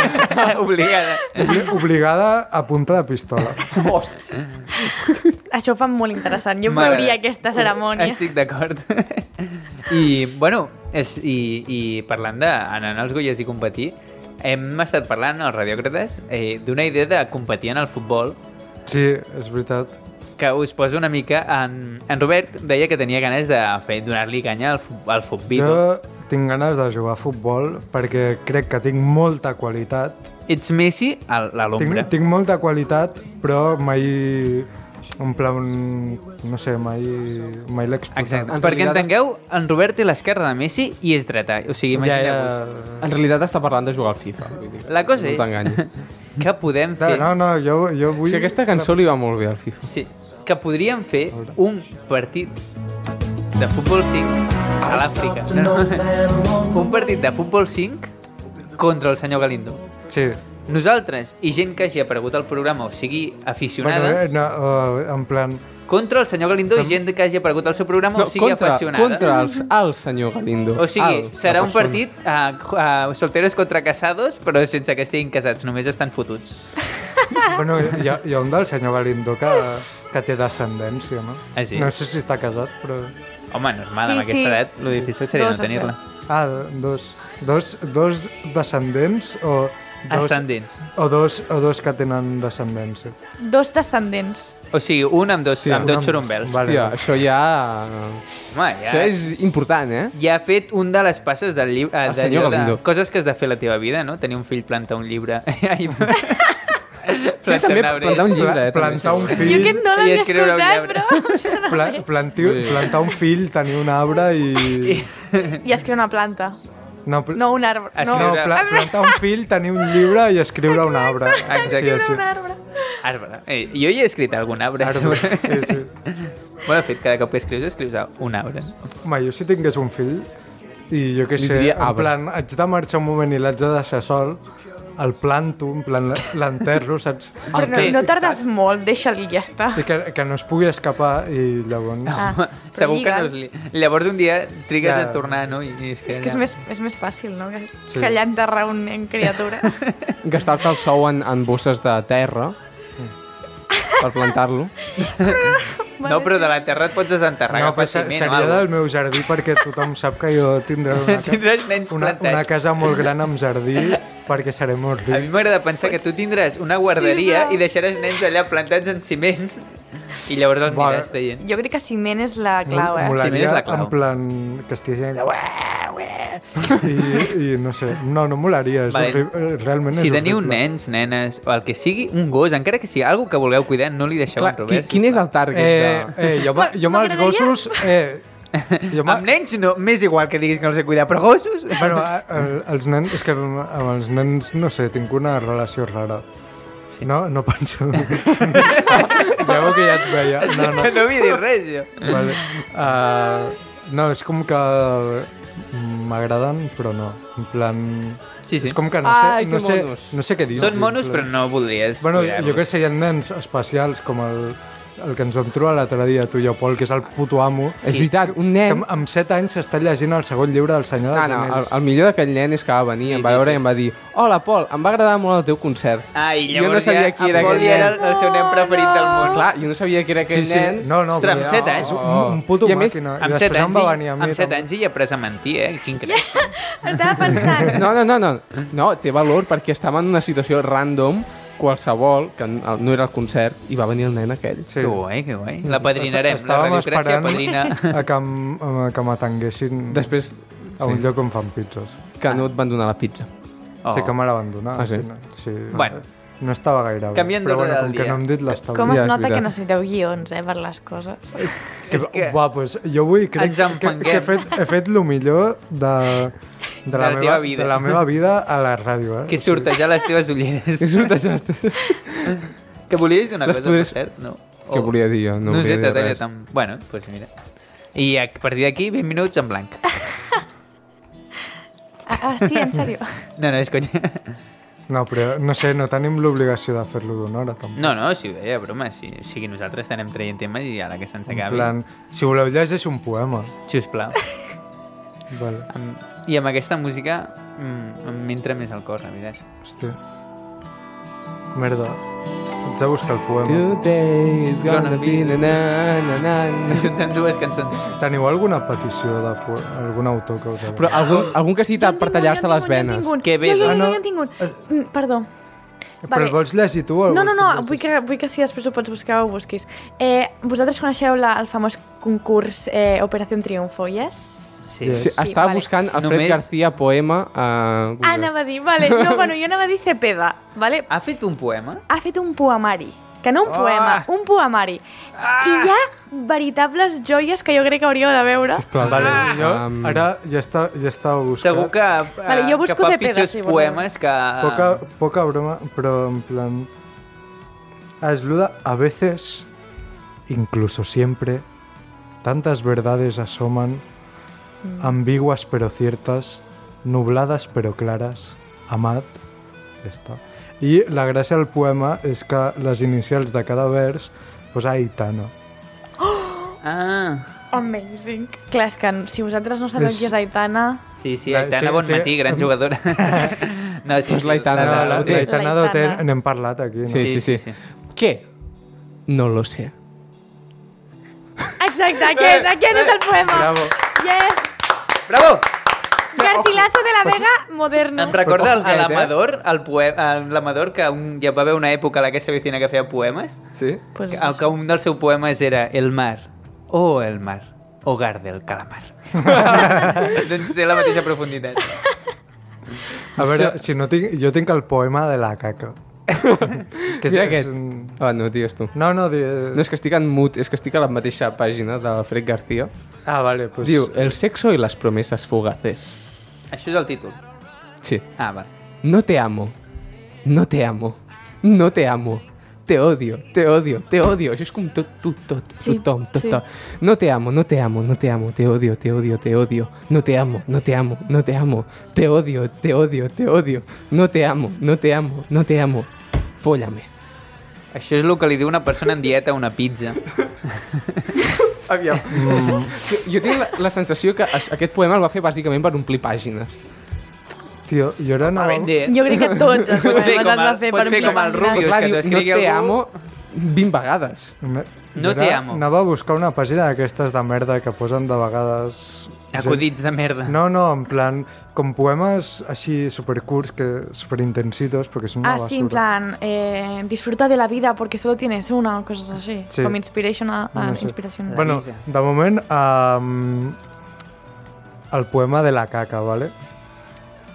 A: Obligada.
E: Obli- Obligada a punta de pistola.
C: Hòstia.
D: Això ho fan molt interessant. Jo
A: M'agrada.
D: veuria aquesta cerimònia.
A: Estic d'acord. I, bueno, és, i, i parlant d'anar als Goyes i competir, hem estat parlant, els radiòcrates, eh, d'una idea de competir en el futbol
E: Sí, és veritat.
A: que us poso una mica en... En Robert deia que tenia ganes de fer donar-li canya al, fu- al futbito.
E: Jo tinc ganes de jugar a futbol perquè crec que tinc molta qualitat.
A: Ets Messi a la
E: Tinc,
A: l'ombra.
E: tinc molta qualitat, però mai... En plan... No sé, mai, mai l'he exposat.
A: Exacte.
C: En
A: Perquè
C: realitat
A: entengueu, en Robert té l'esquerra de Messi i és dreta. O sigui,
E: Ja, ja...
A: imagineu-vos.
C: En realitat està parlant de jugar al FIFA. vull dir.
A: La cosa
C: no
A: és-
C: t'enganyis.
A: Què podem
E: No,
A: fer?
E: no, no, jo, jo vull...
C: Si aquesta cançó li va molt bé al FIFA.
A: Sí, que podríem fer un partit de futbol 5 a l'Àfrica. No, no. Un partit de futbol 5 contra el senyor Galindo.
E: Sí.
A: Nosaltres i gent que hagi aparegut al programa, o sigui, aficionada,
E: Bueno, eh, no, eh, en plan...
A: contra el senyor Galindo i gent que hagi aparegut al seu programa, o sigui,
C: contra,
A: aficionada.
C: contra els, el senyor Galindo.
A: O sigui,
C: El, la
A: serà un
C: persona.
A: partit a, a solteros contra casados, però sense que estiguin casats, només estan fotuts.
E: Bueno, hi ha, hi ha un del senyor Galindo que, que té descendència, no?
A: Ah, sí?
E: No sé si està casat, però...
A: Home, normal,
D: Sí,
A: amb aquesta
D: sí.
A: edat, lo difícil seria
D: Dos
A: no
D: es
A: tenir-la.
E: Ah, dos, dos, dos descendents o... Dos,
A: Ascendents.
E: O dos, o dos que tenen descendència.
D: Dos descendents.
A: O sigui, un amb dos,
C: Sí,
A: amb
C: un
A: dos
E: amb-
A: xorumbels.
E: Vale.
C: Hòstia, això ja...
A: Home, ja,
C: Això és important, eh?
A: ja ha fet un de les passes del llibre... Eh,
C: El
A: del
C: senyor
A: llibre de,
C: Galindo.
A: coses que has de fer a la teva vida, no? Tenir un fill, plantar un llibre... Ai,
C: Sí, també plantar un llibre, eh? també,
E: plantar un
C: això.
D: Jo
E: fill,
D: aquest eh? no
A: I
D: l'havia
A: escriure un
D: escoltat,
A: llibre.
D: però...
E: pla, plantiu,
C: Sí.
E: plantar un fill, tenir un arbre i...
D: I escriure una planta.
E: No, pl-
D: No un arbre. No,
E: no
A: Escriure-
E: pla, plantar un fill, tenir un llibre i escriure un arbre.
A: Escriure
D: un arbre.
A: Arbre. Eh, jo hi he escrit algun arbre.
E: Arbre,
A: sobre-
E: sí, sí.
A: Bueno, de fet, cada cop que escrius, escrius un arbre.
E: Home, jo si tingués un fill i jo què
C: Li
E: sé,
C: diria
E: en
C: arbre.
E: plan, haig de marxar un moment i l'haig de deixar sol, el planto, en plan l'enterro, saps?
D: Però no,
C: té,
D: no tardes molt, deixa'l i ja està.
E: I que, que no es pugui escapar i llavors...
D: Ah, però
A: Segur que
D: lliga.
A: no és... li- Llavors un dia trigues
E: Ja.
A: a tornar, no? I, i és que,
D: És que és
A: ja-
D: més, és més fàcil, no? Que,
E: Sí.
D: sí. que allà enterrar un nen criatura.
C: Gastar-te el sou en, en bosses de terra per plantar-lo.
A: No, però de la terra et pots desenterrar.
E: No,
A: No,
E: però se-
A: fàcilment,
E: seria del meu jardí perquè tothom sap que jo tindré una, ca-
A: Tindràs nens
E: una, una
A: plantats.
E: casa molt gran amb jardí perquè seré molt
A: A mi
E: ric.
A: m'agrada pensar que tu tindràs una guarderia
D: però-
A: i deixaràs nens allà plantats en ciment i llavors els
E: Vale.
A: aniràs traient.
D: Jo crec que ciment és la clau,
A: Sí,
D: eh?
A: mira,
E: Molaria
A: és la clau.
E: en plan que estiguessin allà ué, ué, i, i no sé, no, no molaria és
A: Vale.
E: horrible, realment
A: Si
E: és
A: teniu
E: horrible.
A: nens, nenes, o el que sigui, un gos, encara que sigui algo que vulgueu cuidar, no li deixeu en
C: Clar, qui,
A: Robert.
C: quin és el target
E: eh,
C: de...
E: eh, jo, ma- jo amb els
D: M'agradaria-
E: gossos eh, jo ma-
A: Amb nens no, m'és igual que diguis que no sé cuidar, però gossos...
E: bueno, a- el- els nens, és que amb amb els nens, no sé, tinc una relació rara. Sí. No, no penso... ja veu que ja et veia. No, no.
A: Que no vull dir res, jo.
E: Vale. Uh, no, és com que m'agraden, però no. En plan...
A: Sí, sí.
E: És com que no sé,
C: Ai, que
E: no sé,
C: monos.
E: no sé què dir.
A: Són monos, però no voldries
E: Bueno,
A: cuidar-los.
E: jo que sé, hi ha nens especials com el, el que ens vam trobar l'altre dia, tu i jo, Pol, que és el puto amo,
C: És veritat, un
E: que
C: nen...
E: amb- amb 7 anys s'està llegint el segon llibre del
C: No,
E: Senyor dels
C: Eh. Ah, no, el,
E: Anells.
C: el millor d'aquest nen és que va venir, em va veure i em va dir Hola, Pol, em va agradar molt el teu concert.
A: Ai,
C: jo no
A: llavors ja
C: sabia qui era
A: en Pol
C: aquest
A: ja era
C: nen.
A: el, el seu nen preferit del món.
C: Clar, jo no sabia que era aquest nen.
E: No, no,
A: Ostres,
E: però-
A: amb set anys?
E: És un, un puto
C: I a més,
E: màquina. I
A: Amb
E: després
A: 7
E: em
A: anys,
E: va
A: i,
E: venir a mi.
A: amb set
E: també.
A: anys i ja après a mentir, eh? Quin creix.
D: Estava pensant,
C: No, no, no, no. No, té valor perquè estava en una situació random qualsevol, que n- no era el concert, i va venir el nen aquell.
E: Sí.
A: Que guai, que guai. La padrinarem, la
E: Estàvem
A: radiocràcia
E: esperant
A: padrina.
E: a que, em- a que m'atenguessin
C: Després,
E: a un lloc on fan pizzas.
C: que no et van donar la pizza.
A: Oh.
E: Sí que me la van donar.
C: Ah, sí?
E: sí.
A: Bueno.
E: No estava gaire bé.
A: Canviem
E: però
A: d'ordre
E: bueno,
A: del
E: com que
A: dia.
E: no hem dit l'establir.
D: com
C: Ja,
D: es
C: és
D: nota
C: veritat.
D: que necessiteu guions, eh, per les coses.
E: Que,
A: És que-
E: Buah, pues, jo avui crec
A: Ens
E: que, que,
A: enfanguem.
E: he, fet, he fet el millor de, de,
A: la
E: la
A: teva
E: meva,
A: vida.
E: de la meva vida a la ràdio. Eh?
A: Que sortejar les teves ulleres.
C: És un desastre.
A: Que volies dir una
C: Les
A: cosa, per
C: podries-
A: cert? No.
C: Què volia dir jo? Oh. No
A: No, no sé,
C: volia dir
A: t'ha
C: res.
A: tan... Bueno, doncs pues mira. I a partir d'aquí, 20 minuts en blanc.
D: Ah, ah sí, en sèrio.
A: No, no, és conya.
E: No, però no sé, no tenim l'obligació de fer-lo d'una hora, tampoc.
A: No, no, si ho deia, broma. Si, o sigui, nosaltres anem traient temes i ara que se'ns
E: en
A: acabi,
E: plan, si voleu llegeix un poema.
A: sisplau.
E: Vale.
A: Amb... I amb aquesta música mm, m'entra més al cor, la veritat.
E: Hòstia. Merda. Haig de buscar el poema.
C: Today is gonna be na na na na na.
A: Juntant dues cançons.
E: Teniu alguna petició de po- algun autor que us agradi?
C: Però algun, algun que sigui
D: Jo en
C: per
D: tinc
C: tallar-se
D: un, jo en
C: les
D: tinc
C: venes.
D: un, jo en tinc un.
A: Que bé,
D: Jo, jo,
E: doncs.
D: jo,
E: Ah, no.
D: jo en tinc un. Mm, Perdó.
E: Però el vols llegir tu? o el
D: No, no,
E: vols
D: no,
E: que el
D: vull
E: llegeixi?
D: que, vull que si després ho pots buscar o ho busquis. Eh, vosaltres coneixeu la, el famós concurs eh, Operación Triunfo, yes?
A: Sí.
C: Sí,
D: Sí,
C: estava
D: vale.
C: buscant Alfred
A: Només-
C: García poema a Google.
D: Ah, anava a dir, vale. No, bueno, jo anava a dir Cepeda, vale?
A: Ha fet un poema?
D: Ha fet un poemari. Que no un
E: Ah.
D: poema, un poemari. I hi ha veritables joies que jo crec que hauríeu de veure.
C: Sisplau,
E: Vale, jo
C: um,
E: ara ja està, ja estava buscant.
A: Segur que, eh,
D: Vale, jo busco
A: que fa
D: Cepeda,
A: pitjors
D: si voleu.
A: poemes que...
E: Poca,
A: Ah.
E: poca broma, però en plan... Ah, Es luda a veces, incluso siempre, tantas verdades asoman, ambiguas pero ciertas, nubladas pero claras, amad, ja està. I la gràcia del poema és que les inicials de cada vers pues, posa Aitano.
A: Ah,
D: Amazing. Clar, és que si vosaltres no sabeu
E: És-
D: qui és Aitana...
A: sí, sí,
E: La-
A: Aitana
E: sí,
A: Bonmatí,
E: sí.
A: gran jugadora. no, sí,
C: Doncs l'Aitana-
A: la- la-
E: La-
C: L'Aitana.
E: L'Aitana d'Hotel,
D: L'Aitana.
E: n'hem parlat aquí. No?
C: Sí, sí, sí. Què? No lo sé.
D: Exacte, aquest, aquest és el poema.
E: Bravo.
D: Yes!
A: Bravo!
D: Garcilaso de la Vega moderno.
A: Em recorda el-
C: Ojo,
A: a
C: aquest, eh?
A: l'Amador, el poe- a l'Amador, que un, ja va haver una època a la que se vecina que feia poemes,
C: Sí?
D: Pues,
A: que, el que un dels seus poemes era El mar, o oh, el mar, hogar del calamar. doncs té la mateixa profunditat.
E: A veure, si no tinc, jo tinc el poema de la caca.
C: Que
E: és
C: Mira aquest.
E: un-
C: Ah, no, digues tu.
E: No, no, di...
C: No, és que estic en mut, és que estic a la mateixa pàgina de l'Alfred García.
E: Ah, vale, pues...
C: Diu, el sexo y las promesas fugaces.
A: Això és el títol.
C: Sí.
A: Ah, va.
C: No te amo. No te amo. No te amo. Te odio, te odio, te odio. Això és com tot, tot, tot,
D: Sí,
C: tothom, tot,
D: sí.
C: tot. No te amo, no te amo, no te amo, te odio, te odio, te odio. No te amo, no te amo, no te amo. Te odio, te odio, te odio. No te amo, no te amo, no te amo. Fóllame.
A: Això és el que li diu una persona en dieta a una pizza.
C: Aviam. Mm. Jo tinc la, la sensació que a- aquest poema el va fer bàsicament per omplir pàgines.
E: Tio, jo ara
A: Va
E: anava...
A: vender.
D: Jo crec que tots
A: Pots
D: els
A: fer
D: poemes
A: com
D: els va
A: el-
D: fer
A: pots
D: per
A: fer
D: mi.
A: com el Rubius,
C: Però clar,
A: que
C: diu, no
A: t'escrigui
C: te
A: algú-
C: amo 20 vegades.
E: Una-
A: No
E: jo
A: te
E: ara
A: amo.
E: Anava a buscar una pàgina d'aquestes de merda que posen de vegades...
A: Acudits de merda.
E: No, no, en plan, com poemes així supercurts, que superintensitos, perquè són una
D: Ah,
E: basura.
D: sí, en plan, eh, disfruta de la vida porque solo tienes una o cosas así.
E: Sí.
D: Com inspiration, a, a,
E: No sé.
D: inspiration.
E: Bueno,
A: vida.
E: de moment, um, el poema de la caca, vale?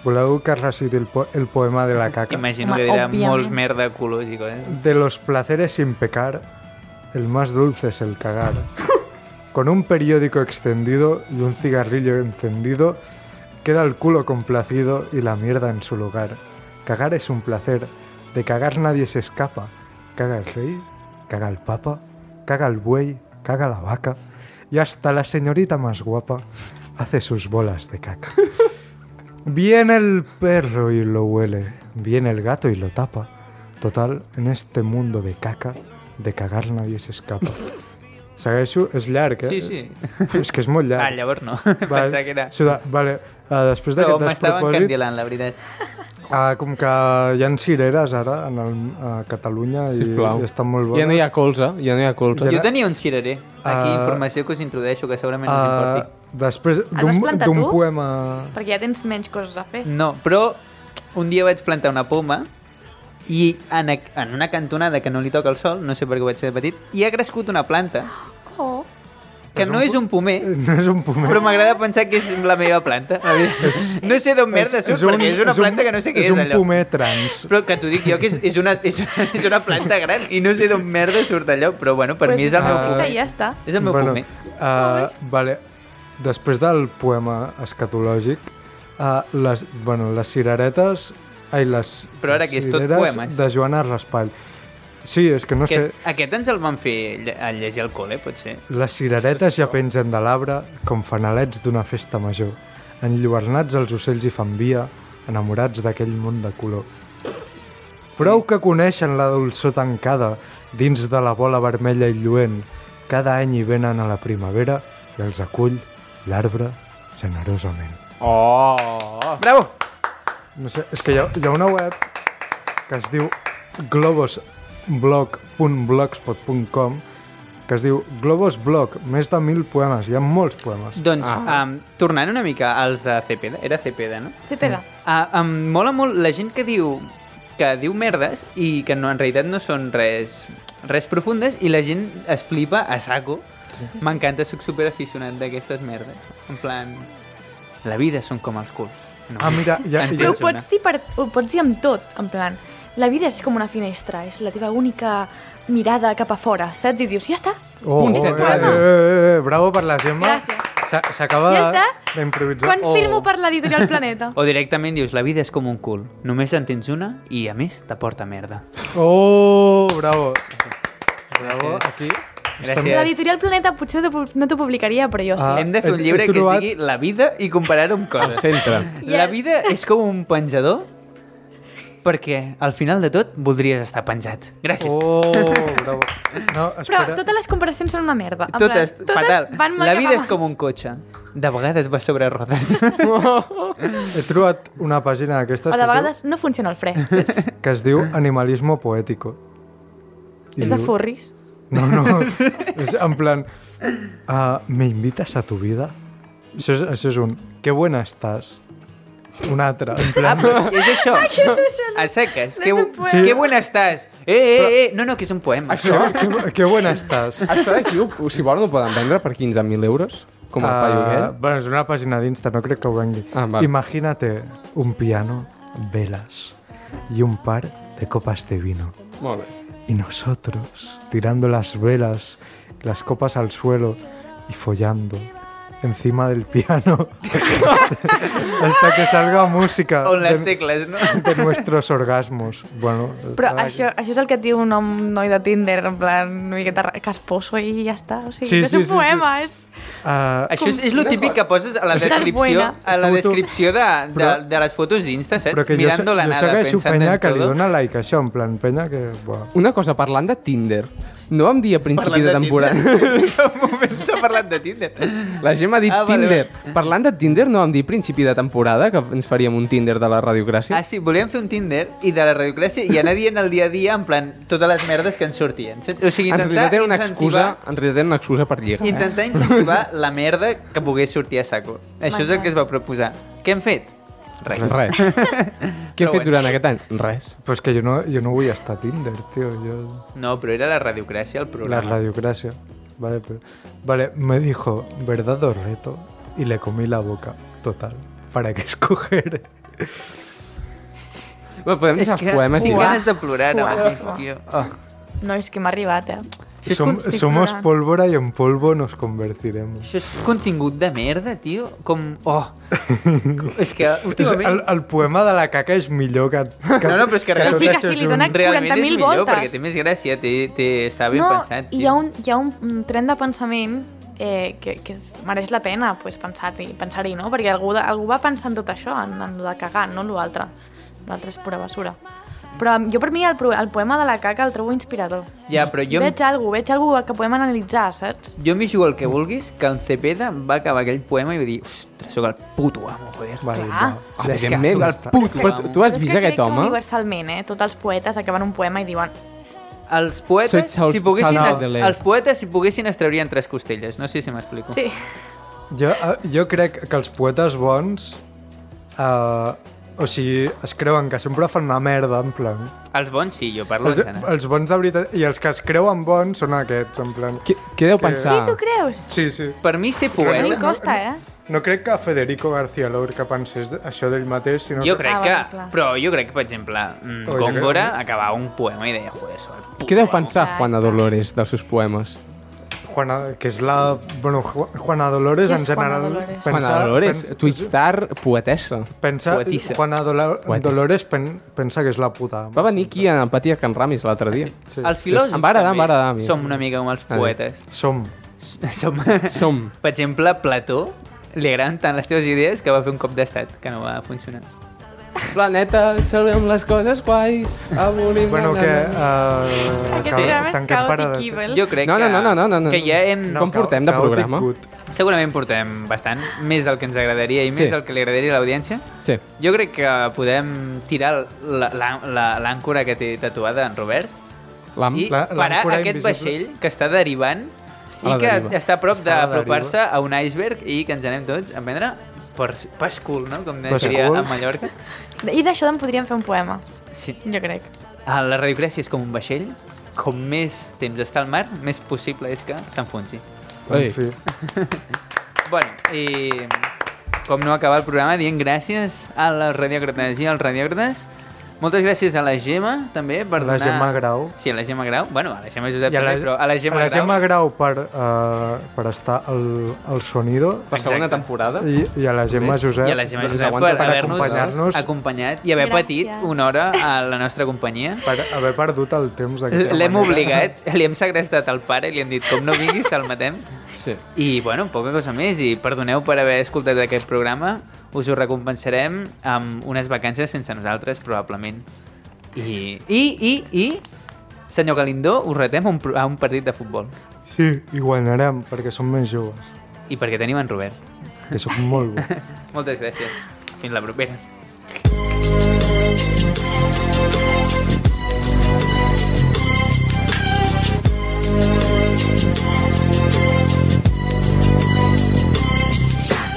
E: Voleu que reciti el, po el poema de la caca?
A: Imagino
D: Home,
A: que dirà
D: òbviament.
A: molts merda, colors i coses.
E: De los placeres sin pecar, el más dulce es el cagar. Con un periódico extendido y un cigarrillo encendido, queda el culo complacido y la mierda en su lugar. Cagar es un placer, de cagar nadie se escapa. Caga el rey, caga el papa, caga el buey, caga la vaca, y hasta la señorita más guapa hace sus bolas de caca. Viene el perro y lo huele, viene el gato y lo tapa. Total, en este mundo de caca, de cagar nadie se escapa. Segueixo, és llarg, eh?
A: Sí, sí.
E: És que és molt llarg.
A: Ah, llavors no. Pensava que era...
E: Suda, vale. Uh, després
A: Però
E: d'aquest
A: m'estaven
E: despropòsit,
A: candilant, la veritat.
E: uh, com que hi ha cireres ara en el, a Catalunya i,
C: Sisplau.
E: i estan molt bones,
C: Ja no hi ha colze, ja no hi ha colze.
A: Jo tenia un xireré. Aquí,
E: Ah.
A: informació que us introdueixo, que segurament us
E: uh,
A: importi.
E: després
D: Ah, no has
E: d'un
D: plantat
E: d'un
D: tu?
E: poema...
D: Perquè ja tens menys coses a fer.
A: No, però un dia vaig plantar una poma i en, ac- en una cantonada que no li toca el sol, no sé per què ho vaig fer de petit, i ha crescut una planta
D: Oh.
A: que no és un pomer,
E: No és un poema.
A: però m'agrada pensar que és la meva planta. la veritat. No sé d'on merda surt, perquè és una planta que no sé què és,
E: És un
A: allò.
E: pomer trans.
A: Però que t'ho dic jo, que és, és, una, és, una, és una planta gran i no sé d'on merda surt allò, però bueno, per
D: Pues
A: mi és el meu
E: ah.
A: pomer.
D: Que ja està.
A: És el meu bueno. pomer.
E: Uh, vale. Després del poema escatològic, uh, les, bueno, les cireretes... Ai, les,
A: Però ara
E: les
A: què és, tot
E: cireres
A: poemes?
E: De Joana Raspall. Sí, és que no sé...
A: Aquest, aquest ens el van fer lle- a llegir al col·le, potser.
E: Les cireretes ja pengen de l'arbre com fanalets d'una festa major. Enlluernats els ocells hi fan via, enamorats d'aquell món de color. Prou que coneixen la dolçor tancada dins de la bola vermella i lluent. Cada any hi venen a la primavera i els acull l'arbre generosament.
C: Oh!
A: Bravo!
E: No sé, és que hi ha, hi ha una web que es diu globosblog.blogspot.com que es diu Globosblog, més de mil poemes, hi ha molts poemes.
A: Doncs, ah.
C: Ah.
A: um, tornant una mica als de Cepeda, era Cepeda, no?
D: Cepeda.
A: Uh, em mola molt la gent que diu que diu merdes i que no, en realitat no són res, res profundes i la gent es flipa a saco. Sí. M'encanta, sóc superaficionat d'aquestes merdes. En plan, La vida són com els culs. No.
E: Ah, mira, ja-
A: En
E: ja-
D: Però ho
A: tens una.
D: pots, dir per, ho pots dir amb tot, en plan, la vida és com una finestra, és la teva única mirada cap a fora, saps? I dius, ja està,
E: Oh,
C: Punt
E: oh,
C: set,
E: eh,
C: bravo.
E: eh, eh, eh, bravo per la Gemma.
D: Gràcies.
E: S'ha- S'acaba
D: Ja
E: de-
D: està?
E: d'improvisar.
D: quan
A: Oh.
D: firmo per l'editorial Planeta.
A: O directament dius, la vida és com un cul. Només en tens una i, a més, t'aporta merda.
E: Oh, bravo. Bravo,
A: Gràcies.
E: aquí.
A: Gràcies.
D: L'editorial Planeta potser no t'ho- no t'ho publicaria, però jo sí.
E: Ah.
A: Hem de fer un
E: He- he
A: llibre que
E: trobat-
A: es digui La vida i comparar-ho amb
C: Al
A: coses.
C: centre.
A: La
D: Yes.
A: vida és com un penjador perquè al final de tot voldries estar penjat. Gràcies.
E: Oh, bravo. No,
D: Però
E: espera.
D: totes les comparacions són una merda. en
A: Totes,
D: plan,
A: fatal.
D: van molt
A: La
D: cap
A: vida és
D: avall.
A: com un cotxe. De vegades va sobre rodes.
E: He trobat una pàgina d'aquestes
D: O
E: que,
D: de
E: es
D: vegades no funciona el fre.
E: diu- que es diu Animalismo Poético. I
D: és de
E: diu-
D: furris.
E: No, no. és en plan... Uh, ¿Me invitas a tu vida? Això és, això és un... Que buena estàs. Un altre. En
A: Ah,
E: plan...
A: però és això.
D: és això?
A: A seques.
D: No
A: que,
D: és un poema.
A: que buena estàs. Eh, eh, eh. No, no, que és un poema.
C: Això,
E: Que, que buena estàs.
C: això d'aquí, ho- si volen, ho poden vendre per 15.000 euros, com el uh... paio
E: Ah,
C: aquell.
E: bueno, és una pàgina d'Insta, no crec que ho vengui.
C: Ah, va.
E: Imagínate un piano, velas y un par de copas de vino.
C: Molt bé.
E: Y nosotros tirando las velas, las copas al suelo y follando encima del piano hasta, hasta que salga música
A: On les
E: de,
A: tecles, no?
E: de nuestros orgasmos. Bueno,
D: Però
E: estaba-
D: això, això és el que et diu un nom, noi de Tinder, en plan, una miqueta ra- casposo i ja està. O sigui, sí,
E: Sí,
D: és
E: sí,
D: un
E: sí, sí.
D: poema, és...
E: Ah,
A: Això és, és lo típic que poses a la
D: Estàs
A: descripció,
D: buena.
A: a la
E: Tu- tu-
A: descripció de, de,
E: però-
A: de les fotos d'Insta,
E: però
A: saps?
E: que jo, se-
A: Mirando la
E: jo
A: nada,
E: segueixo
A: pensando
E: penya
A: en
E: que li
A: todo.
E: dona like a això, en plan penya que... Buah.
C: Una cosa, parlant de Tinder, no vam dir a principi
A: Parlant
C: de temporada...
A: Tinder. En un moment s'ha parlat de Tinder.
C: La Gemma ha dit
A: Ah,
C: ah,
A: vale,
C: Tinder. Parlant de Tinder, no vam dir principi de temporada que ens faríem un Tinder de la radiogràcia?
A: Ah, sí, volíem fer un Tinder i de la radioclàssia i anar dient el dia a dia, en plan, totes les merdes que ens sortien. Saps? O sigui,
C: en
A: intentar
C: realitat era una excusa,
A: incentivar,
C: en realitat era una excusa per lligar. Eh?
A: intentar incentivar la merda que pogués sortir a saco. Això és el
D: M'encanta.
A: que es va proposar. Què hem fet? Res.
C: Res. Què hem
A: Però
C: fet
A: bueno.
C: durant aquest any? Res.
E: Però és Pues que jo no, jo no vull estar a Tinder, tio. Jo...
A: No, però era la radiocràcia el
E: La
A: programa.
E: radiocracia. Vale, pero- vale, me dijo, ¿verdad o reto? Y le comí la boca. Total. ¿Para qué escoger?
C: Bueno, podem
A: És
C: deixar els
A: que
C: poemes i Ah,
A: tinc
D: Uah.
C: va.
A: ganes de plorar ara
D: Uah.
A: mateix, tio. Oh.
D: Nois, que m'ha arribat, eh?
A: Sí,
E: Som-
A: com si
E: somos
D: fuera-
E: pólvora y en polvo nos convertiremos.
A: Això és contingut de merda, tio. Com... Oh. és que
E: És
A: últimament...
E: el, el poema de la caca és millor que... que
A: No, no, però és que
D: Però
A: realment...
D: sí que sí, li dona
A: Realment és
D: 40.000
A: millor,
D: voltes.
A: perquè té més gràcia, té, té, està ben
D: no,
A: pensat. tio.
D: hi ha, un, hi ha un, un tren de pensament eh, que, que es, mereix la pena pues, pensar-hi, pensar no? Perquè algú, de- algú va pensar en tot això, en, en lo de cagar, no en l'altre. L'altre és pura basura. Però jo per mi el, pro- el poema de la caca el trobo inspirador.
A: Ja, però jo,
D: Veig algú, veig algú que podem analitzar, saps?
A: jo m'hi jugo el que vulguis, que el Cepeda va acabar aquell poema i va dir ostres, sóc el puto amo, joder.
E: Vale,
D: Clar.
E: no.
C: Ah,
A: Ja és que
C: evidentment.
A: surt el puto
C: Però tu-
A: amo.
C: tu has
D: Però és
C: vist
D: que
C: aquest
D: crec que
C: home?
D: Universalment, eh? Tots els poetes acaben un poema i diuen
A: Els poetes,
C: Soy Charles-
A: si poguessin,
C: Charles
A: es-
C: Baudelaire.
A: els poetes, si poguessin, es traurien tres costelles. No sé si m'explico.
D: Sí.
E: Jo, eh, jo crec que els poetes bons... eh, o sigui, es creuen que sempre fan una merda, en plan...
A: Els bons sí, jo parlo
E: Els,
A: en general.
E: els bons de veritat... I els que es creuen bons són aquests, en plan...
C: Què, què deu
D: Sí,
C: pensar?
D: tu creus?
E: Sí, sí.
A: Per mi ser
D: A mi
A: poeta...
E: Realment-
D: costa, eh?
E: No crec que Federico García Lorca pensés això d'ell mateix, sinó
A: Jo
E: que...
A: crec
D: Ah,
A: que...
D: vale, clar.
A: Però jo crec que, per exemple, mm,
E: Oi,
A: Góngora
E: que-
A: acabava un poema i deia, joder, sóc el puto
C: Què deu
A: amo".
C: pensar
D: Exacte.
C: Juana Dolores dels seus poemes?
E: Juana, que és la... Bueno, Ju- Juana Dolores
D: Qui és
E: en general...
D: Juana Dolores?
C: Juana Dolores,
E: pens-
C: twitstar, poetessa.
E: Pensa,
A: Poetisa.
E: Juana Dola
C: Poetisa.
E: Dolores pen, pensa que és la puta.
C: Va venir aquí a Empatia Can Ramis l'altre dia.
E: Sí.
A: Els filòsofs
C: Em va agradar,
A: també
C: em va agradar a mi.
A: som una mica com els
C: bé.
A: poetes.
E: Som.
A: Som...
C: Som.
A: Per exemple, Plató li agraden tant les teves idees que va fer un cop d'estat, que no va funcionar.
C: Planeta, salvem les coses guais. Abolim
E: Bueno, que... Uh,
D: Aquest programa és caòtic,
E: de...
D: Ibel.
A: Jo crec
C: No, no,
A: que,
C: no, no, no, no, no.
A: que ja hem...
C: No. Com portem de programa?
A: Segurament portem bastant, més del que ens agradaria i més
C: Sí.
A: del que li agradaria a l'audiència.
C: Sí.
A: Jo crec que podem tirar la- la- la- l'àncora que té tatuada en Robert
C: L'am.
A: i
E: La-
A: parar
E: l'àncora
A: aquest
E: invisible.
A: vaixell que està derivant
C: A la
A: i que
C: deriva.
A: està a prop
E: Està a la
A: d'apropar-se a un iceberg i que ens anem tots a prendre per Pascul, no? Com
E: Pas
A: diria
E: cul.
A: a Mallorca.
D: I d'això en podríem fer un poema,
A: Sí.
D: jo crec.
A: A la radiocràcia és com un vaixell. Com més temps està al mar, més possible és que s'enfonsi.
E: En
C: Ei.
E: fi.
A: Bueno, i... com no acabar el programa dient gràcies a les radiòcrates i als radiòcrates. Moltes gràcies a la Gemma, també, per
E: A la
A: donar...
E: Gemma Grau.
A: Sí, a la Gemma Grau. Bueno, a la Gemma Josep,
E: I a la,
A: però a la Gemma,
E: a la Gemma
A: Grau.
E: Grau per, eh, per estar al, al sonido
C: Per segona
A: Exacte.
C: temporada.
E: i, i a la Gemma
C: Només.
E: Josep
A: I a la Gemma
C: Doncs
A: Josep
C: aguanta
A: per,
C: per
A: haver-nos
E: acompanyar-nos.
A: acompanyat i haver patit
D: Gràcies.
A: una hora a la nostra companyia.
E: per haver perdut el temps d'aquesta
A: L'hem
E: manera.
A: obligat, li hem segrestat al pare i li hem dit com no vinguis te'l matem.
C: Sí.
A: I, bueno, poca cosa més. I perdoneu per haver escoltat aquest programa. Us ho recompensarem amb unes vacances sense nosaltres, probablement. I, i, i, i senyor Galindó, us retem a un, pro- a un partit de futbol.
E: Sí, i guanyarem, perquè som més joves,
A: I perquè tenim en Robert.
E: que sóc molt bo.
A: Moltes gràcies. Fins la propera.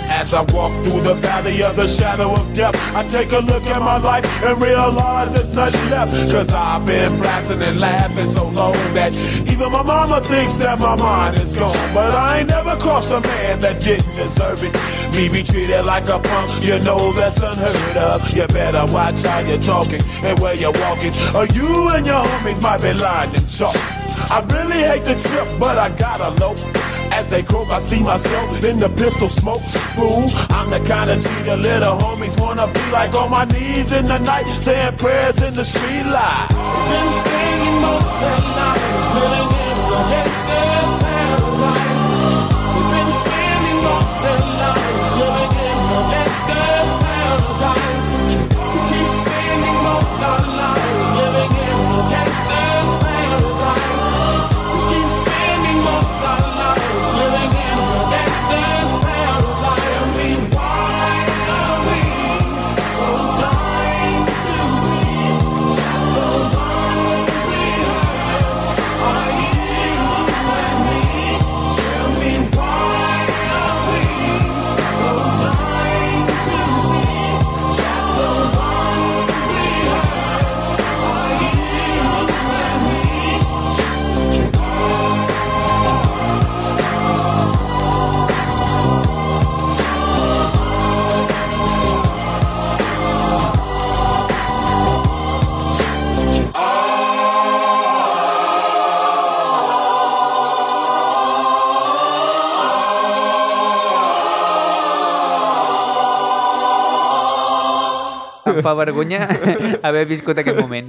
G: As I walk through the valley of the shadow of death, I take a look at my life and realize there's nothing left. Cause I've been blasting and laughing so long that even my mama thinks that my mind is gone. But I ain't never crossed a man that didn't deserve it. Me be treated like a punk, you know that's unheard of. You better watch how you're talking and where you're walking, or you and your homies might be lying in chalk. I really hate the trip, but I gotta low. As they croak, I see myself in the pistol smoke. Fool, I'm the kind of G the little homies wanna be like on my knees in the night, saying prayers in the street light. Been staying most of the night, feeling it against this paradise. Been spending most of the night, feeling it against this paradise. Keep spending most of the night, feeling it against this paradise. Keep spending most our lives living in the gangster's paradise. Tell me why are we so blind to see that the ones we hurt are you and me? Tell me why are we so blind to see that the ones we hurt are you and me?
A: Em fa vergonya haver viscut aquest moment.